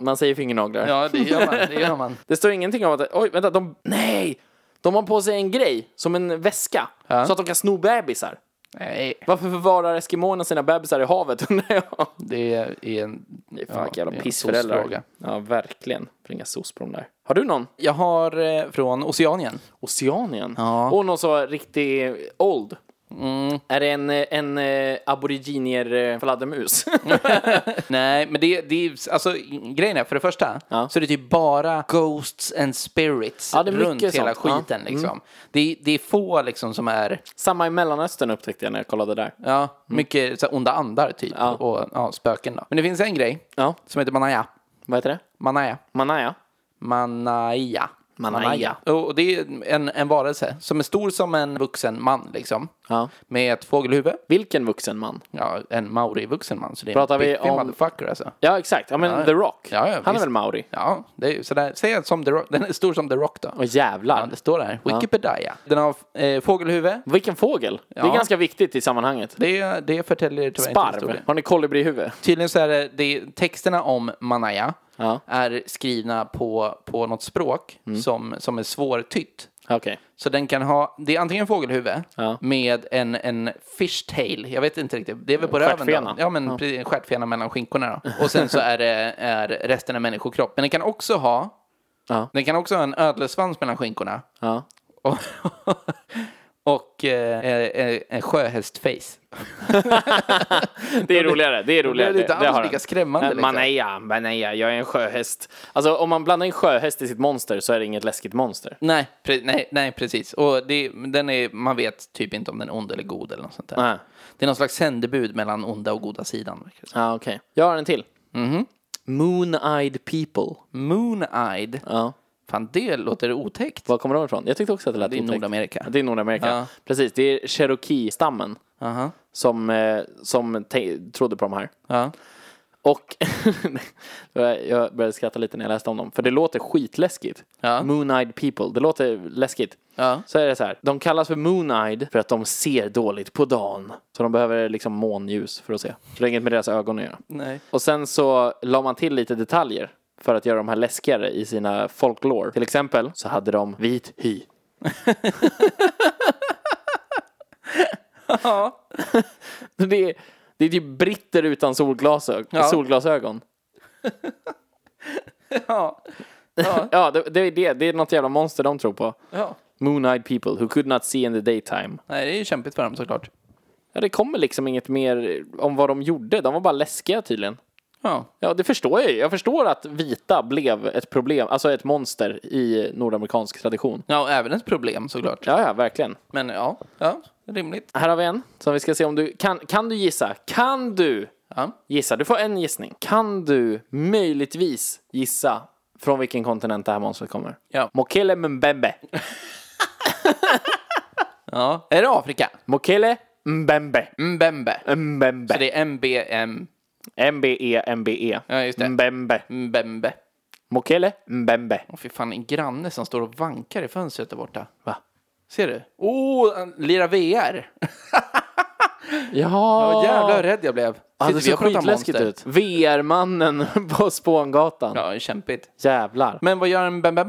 A: Man säger fingernaglar.
B: Ja, det gör man. Det gör
A: (laughs)
B: man.
A: Det står ingenting om att, oj vänta, de, nej! De har på sig en grej, som en väska, så att de kan sno bebisar.
B: Nej,
A: Varför förvarar eskimåerna sina bebisar i havet (laughs) undrar jag?
B: det är en...
A: Det är fan vilka
B: det är
A: jävla
B: en
A: pissföräldrar.
B: soc-fråga.
A: Ja, verkligen. Bringa soc-prom där. Har du någon?
B: Jag har eh, från
A: (laughs)
B: Oceanien.
A: Oceanien?
B: Ja. Mm.
A: Och någon som var riktigt old. Är det en, eh, en eh, aboriginier eh,
B: (laughs)
A: fladdermus?
B: Nej, men det, det är, alltså grejen är för det första
A: Ja.
B: så är det typ bara ghosts and spirits
A: Ja, det är
B: runt
A: mycket
B: hela
A: sånt. Ja. Mm.
B: skiten liksom. Det, är- det är få liksom som är,
A: Samma i Mellanöstern upptäckte jag när jag kollade där.
B: ja,
A: Mm.
B: mycket så här, onda andar typ och ja, spöken då. Men det finns en grej
A: Ja.
B: som heter Manaya.
A: Vad heter det?
B: Manaya.
A: Manaya?
B: Manaya.
A: Manaya.
B: Och och det är en, en varelse som är stor som en vuxen man liksom.
A: Ja.
B: Med ett fågelhuvud.
A: Vilken vuxen man?
B: Ja, en maori-vuxen man. Så det är
A: Pratar
B: en
A: vi
B: riktig
A: om-
B: motherfucker alltså.
A: Ja, exakt. Ja, men The Rock.
B: Ja, ja,
A: Han är
B: visst.
A: väl maori?
B: Ja, det är ju sådär. Säg att som The Rock, den är stor som The Rock då.
A: Åh jävlar.
B: Ja, det står där. Wikipedia. Den har eh, fågelhuvud.
A: Vilken fågel? Det är
B: Ja.
A: ganska viktigt i sammanhanget.
B: Det, det förtäljer tyvärr inte
A: Sparv.
B: historien.
A: Har ni kolibrihuvud?
B: Tydligen så är det, det texterna om Manaya
A: Ja.
B: är skrivna på, på något språk
A: Mm.
B: som, som är svårtytt.
A: Okej.
B: Så den kan ha, det är antingen fågelhuvud
A: Ja.
B: med en, en fishtail, jag vet inte riktigt, det är väl på röven
A: Stjärtfena.
B: då? Ja men precis, en stjärtfena mellan skinkorna då. Och sen så är det är resten en människokropp. Men den kan också ha,
A: Ja.
B: den kan också ha en ödlesvans mellan skinkorna.
A: Ja.
B: Och, (laughs) och eh, eh, en sjöhästface.
A: Det är roligare, det är roligare.
B: Det är inte alls
A: har
B: lika
A: den.
B: skrämmande,
A: Eh,
B: liksom.
A: Maneja, maneja, jag är en sjöhäst. Alltså om man blandar in sjöhäst i sitt monster så är det inget läskigt monster.
B: Nej, pre- nej, nej precis. Och det, den är, man vet typ inte om den är ond eller god eller något sånt där.
A: Nej.
B: Det är någon slags sändebud mellan onda och goda sidan. verkar det som.
A: Ja, okej. Jag har en till. Moon-eyed people.
B: Moon-eyed.
A: Ja.
B: Fan, det låter otäckt.
A: Var kommer de ifrån? Jag tyckte också att det lät
B: Det är
A: otäckt.
B: Nordamerika.
A: Ja, Det är Nordamerika.
B: Ja.
A: Precis, det är Cherokee-stammen
B: Aha.
A: som, eh, som te- trodde på de här.
B: Ja.
A: Och (laughs) jag började skratta lite när jag läste om dem, för det låter skitläskigt.
B: Ja.
A: Moon-eyed people, det låter läskigt.
B: Ja.
A: Så är det så här, de kallas för moon-eyed för att de ser dåligt på dagen. Så de behöver liksom månljus för att se. Så det har inget med deras ögon att göra.
B: Nej.
A: Och sen så la man till lite detaljer för att göra de här läskigare i sina folklore. Till exempel så hade de vit hy.
B: (laughs)
A: (laughs) det, är, det är typ britter utan solglasög-
B: Ja.
A: solglasögon.
B: (laughs) Ja. Ja.
A: (laughs) Ja, det, det är det. Det är något jävla monster de tror på.
B: ja.
A: Moon-eyed people who could not see in the daytime.
B: Nej, det är ju kämpigt för dem såklart.
A: Ja, det kommer liksom inget mer om vad de gjorde. De var bara läskiga tydligen.
B: Ja.
A: Ja, det förstår jag ju. Jag förstår att vita blev ett problem, alltså ett monster i nordamerikansk tradition.
B: Ja, och även ett problem såklart.
A: Ja, ja, verkligen.
B: Men ja, ja, rimligt.
A: Här har vi en som vi ska se om du kan. Kan du gissa? Kan du
B: Ja.
A: gissa? Du får en gissning. Kan du möjligtvis gissa från vilken kontinent det här monstret kommer?
B: Ja.
A: Mokele Mbembe.
B: ja. Är det Afrika?
A: Mokele Mbembe.
B: Mbembe.
A: Mbembe.
B: Så det är MBM.
A: MBE, MBE.
B: Ja, just det.
A: Mbembe.
B: Mbembe.
A: Mokele Mbembe.
B: Åh fy fan, en granne som står och vankar i fönstret där borta.
A: Va?
B: Ser du? Åh, oh, lirar VR!
A: Ja,
B: Vad jävla rädd jag blev.
A: Ja,
B: Sitter vi
A: det ser
B: och pratar
A: skitläskigt
B: monster?
A: ut. VR-mannen (laughs) på Spångatan.
B: Ja, det är kämpigt.
A: Jävlar.
B: Men vad gör en Mbembe?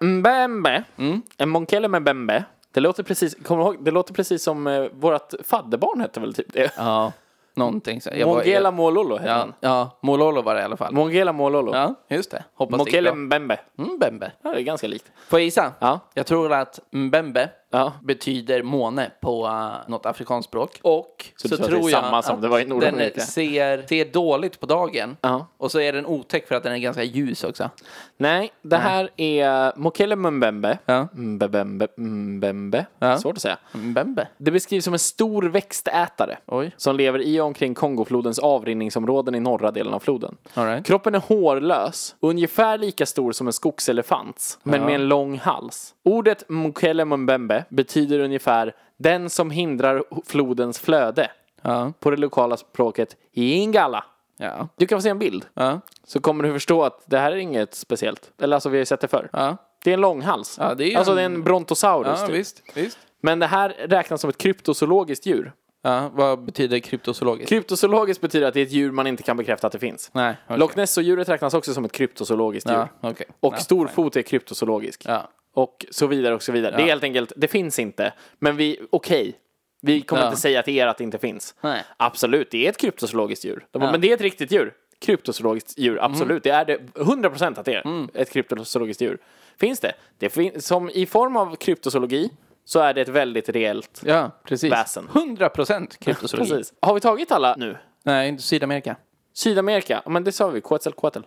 A: Mm. Mbembe.
B: Mm.
A: En monkele med Bembe. Det låter precis, kommer du ihåg, det låter precis som eh, vårt fadderbarn hette väl typ det?
B: Ja. Någonting så. Jag var-
A: Mongela Mololo heter
B: Ja,
A: han.
B: ja, Mololo var det i alla fall.
A: Mongela Mololo.
B: Ja, just det. Hoppas det gick
A: Mokele
B: bra.
A: Mbembe.
B: Mbembe.
A: Ja, det är ganska likt.
B: Får jag gissa?
A: Ja.
B: Jag tror att Mbembe
A: Ja.
B: betyder måne på uh, något afrikanskt språk. Och så,
A: du tror att det är
B: tror jag
A: samma som
B: att
A: det var i
B: den
A: Nordamerika?
B: ser, ser dåligt på dagen.
A: Ja.
B: Och så är den otäck för att den är ganska ljus också.
A: Nej, det här är Mokele Mbembe.
B: Ja.
A: Mbembe. Mbembe.
B: Ja.
A: Svårt att säga.
B: Mbembe.
A: Det beskrivs som en stor växtätare
B: Oj.
A: som lever i och omkring Kongoflodens avrinningsområden i norra delen av floden.
B: All right.
A: Kroppen är hårlös, ungefär lika stor som en skogselefants, men med en lång hals. Ordet Mokele Mbembe betyder ungefär den som hindrar flodens flöde.
B: Ja.
A: På det lokala språket Ingala.
B: Ja.
A: Du kan få se en bild.
B: Ja.
A: Så kommer du förstå att det här är inget speciellt. Eller alltså vi har ju sett det förr.
B: Ja.
A: Det är en långhals.
B: Ja, det är ju
A: alltså
B: en-
A: det är en brontosaurus
B: Ja,
A: typ.
B: visst. visst.
A: Men det här räknas som ett kryptozoologiskt djur.
B: Ja, vad betyder kryptozoologiskt?
A: Kryptozoologiskt betyder att det är ett djur man inte kan bekräfta att det finns.
B: Nej, okej.
A: Loch Ness-djuret räknas också som ett kryptozoologiskt
B: Ja,
A: djur.
B: okej.
A: Och
B: Ja,
A: storfot är kryptozoologisk.
B: Ja.
A: Och så vidare och så vidare. Det är helt enkelt, det finns inte. Men vi, okej. Vi kommer
B: Ja.
A: inte säga till er att det inte finns.
B: Nej.
A: Absolut, det är ett kryptozoologiskt djur. De bara, Men det är ett riktigt djur. Kryptozoologiskt djur,
B: Mm.
A: absolut. Det är det 100% att det är ett kryptozoologiskt djur. Finns det? det fin- som I form av kryptozoologi så är det ett väldigt reellt
B: Ja, precis.
A: Väsen.
B: 100
A: (laughs)
B: procent kryptozoologi.
A: Precis. Har vi tagit alla nu?
B: Nej, inte Sydamerika.
A: Sydamerika? Ja, men det sa vi. Quetzalcoatl.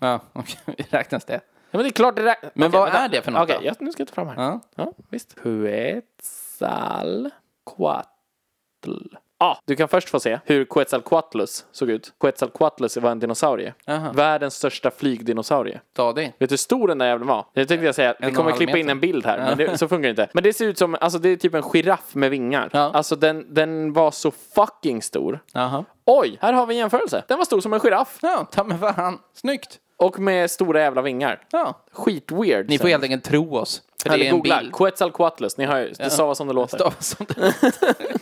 B: Ja, (laughs) okej. Räknas det?
A: Ja, men det är klart det räknas.
B: Men vad är det för något
A: Okej,
B: då?
A: jag, nu ska jag ta fram här.
B: Ja.
A: Ja, visst. Quetzalcoatl. Ah, du kan först få se hur Quetzalcoatlus såg ut. Quetzalcoatlus var en dinosaurie.
B: Aha.
A: Världens största flygdinosaurie.
B: Stadig.
A: Vet du hur stor den där jäveln var? Det tänkte jag säga, vi
B: och
A: kommer
B: halv
A: klippa in
B: meter.
A: en bild här, men det, så funkar det inte. Men det ser ut som, alltså det är typ en giraff med vingar.
B: Ja.
A: Alltså den, den var så fucking stor.
B: Jaha.
A: Oj, här har vi en jämförelse. Den var stor som en giraff
B: Ja, ta mig fan. Snyggt.
A: och med stora jävla vingar.
B: Ja.
A: Skitweird.
B: Ni får helt enkelt tro oss. För
A: Eller
B: det är en
A: googla,
B: bild.
A: Quetzalcoatlus, ni hör ju, det stavas som det låter.
B: Stavas som det.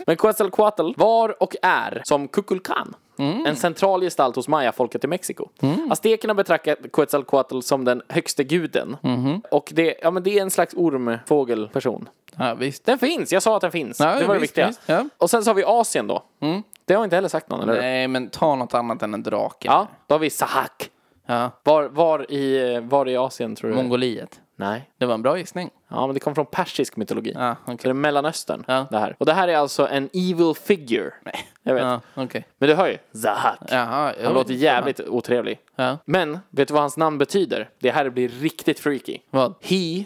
A: Men Quetzalcoatl var och är som Kukulkan.
B: Mm.
A: En central gestalt hos mayafolket i Mexiko. Aztekerna betraktar Quetzalcoatl som den högste guden.
B: Mm-hmm.
A: Och det, ja, men det är en slags ormfågelperson.
B: (laughs) Ja, visst.
A: Den finns, jag sa att den finns.
B: Ja,
A: det var det
B: visst,
A: viktiga.
B: visst, ja. Mm.
A: Och sen så har vi Asien då. Det har jag inte heller sagt någon, eller hur?
B: Nej, men ta något annat än en drake.
A: Ja, då har vi Sahak.
B: Ja.
A: Var, var, i, var i Asien tror du?
B: Mongoliet.
A: Nej.
B: Det var en bra gissning.
A: Ja, men det kom från persisk mytologi.
B: Ja, okej.
A: Så det är Mellanöstern,
B: Ja.
A: det här. Och det här är alltså en evil figure. Nej. Jag vet.
B: Ja, okej.
A: Men du hör ju, Zahak.
B: Jaha.
A: Han låter jävligt otrevlig.
B: Ja.
A: Men, vet du vad hans namn betyder? Det här blir riktigt freaky.
B: Vad? Mm.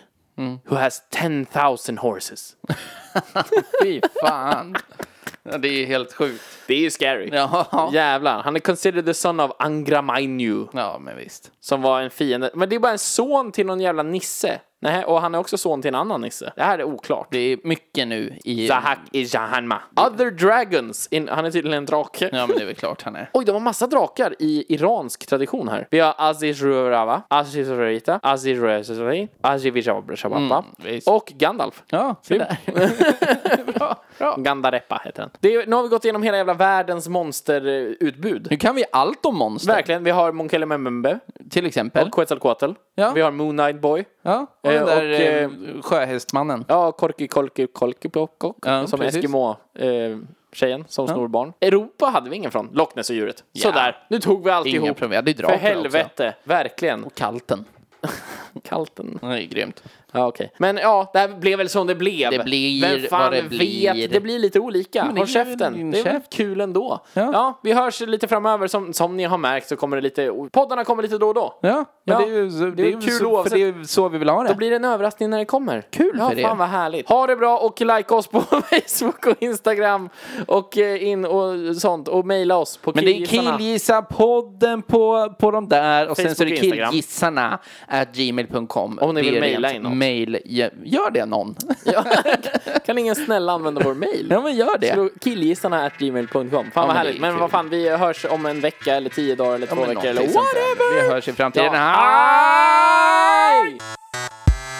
A: He who has 10,000 horses.
B: Fy fan. Ja, det är helt
A: (laughs)
B: sjukt.
A: Det är ju scary.
B: Ja.
A: Jävlar. Han är considered the son of Angramainyu,
B: Ja, men visst.
A: som var en fiende. Men det är bara en son till någon jävla nisse. Nej, och han är också son till en annan nisse. Det här är oklart.
B: Det är mycket nu i...
A: Zahak i Jahanma. Other dragons. In, han är tydligen en drake.
B: Ja, men det är väl klart han är.
A: Oj, de har massa drakar i iransk tradition här. Vi har Aziz Rurava, Aziz Rurita, Aziz Rurasari, Aziz Vishababapa
B: Mm, visst.
A: och Gandalf.
B: Ja, se
A: (laughs)
B: där.
A: Gandarepa heter den. Det är, nu har vi gått igenom hela jävla världens monsterutbud.
B: Nu kan vi allt om monster.
A: Verkligen, vi har Monkele Memembe
B: Till exempel.
A: och Quetzalcoatl.
B: Ja.
A: Vi har Moon Knight Boy.
B: Ja, och den
A: Eh,
B: där
A: och, eh,
B: eh, sjöhästmannen.
A: Ja, Korki Kolki Kolki Pokok,
B: Ja,
A: som
B: precis.
A: Eskimo-tjejen som snor barn. Europa hade vi ingen från, Loch Ness-djuret. Sådär, nu tog vi
B: Inga
A: alltihop.
B: problem, vi hade ju
A: För
B: draken också.
A: helvete, verkligen.
B: Kalten.
A: Kalten.
B: Det är grymt.
A: Ja, okej. Men ja, det här blev väl som det blev.
B: Det blir
A: Vem fan
B: vad det blir.
A: vet? Det blir lite olika.
B: det
A: Håll
B: är väl
A: käften.
B: din
A: Det är väl
B: käft.
A: kul ändå. Ja.
B: Ja.
A: vi hörs lite framöver. Som, som ni har märkt så kommer det lite... Poddarna kommer lite då och då.
B: Ja, men
A: Ja,
B: det är ju så-
A: det är
B: det är ju
A: kul
B: så, för
A: oavsett.
B: det är ju så vi vill ha
A: Då
B: det.
A: blir det en överraskning när det kommer. Kul ja,
B: för er.
A: fan vad härligt. Ha det bra och like oss på (laughs) Facebook och Instagram och eh, in och sånt och mejla oss på
B: Men det är
A: killgissarna.
B: killgissarpodden på, på de där och sen så är det
A: Facebook, Instagram.
B: killgissarna at gmail.com.
A: Om ni
B: Det
A: vill
B: är
A: mejla
B: rent
A: in oss.
B: Mail, Ge- gör det någon.
A: Ja. kan ingen snälla använda vår (laughs) mejl?
B: (laughs) Ja, men gör det.
A: Killgissarna at gmail.com. Fan vad
B: men det
A: härligt.
B: är
A: Men
B: kul.
A: vad fan, vi hörs om en vecka eller tio dagar eller två
B: men
A: veckor liksom. eller
B: någonting sånt där.
A: whatever.
B: Vi hörs i framtiden.
A: Ja.
B: Hej!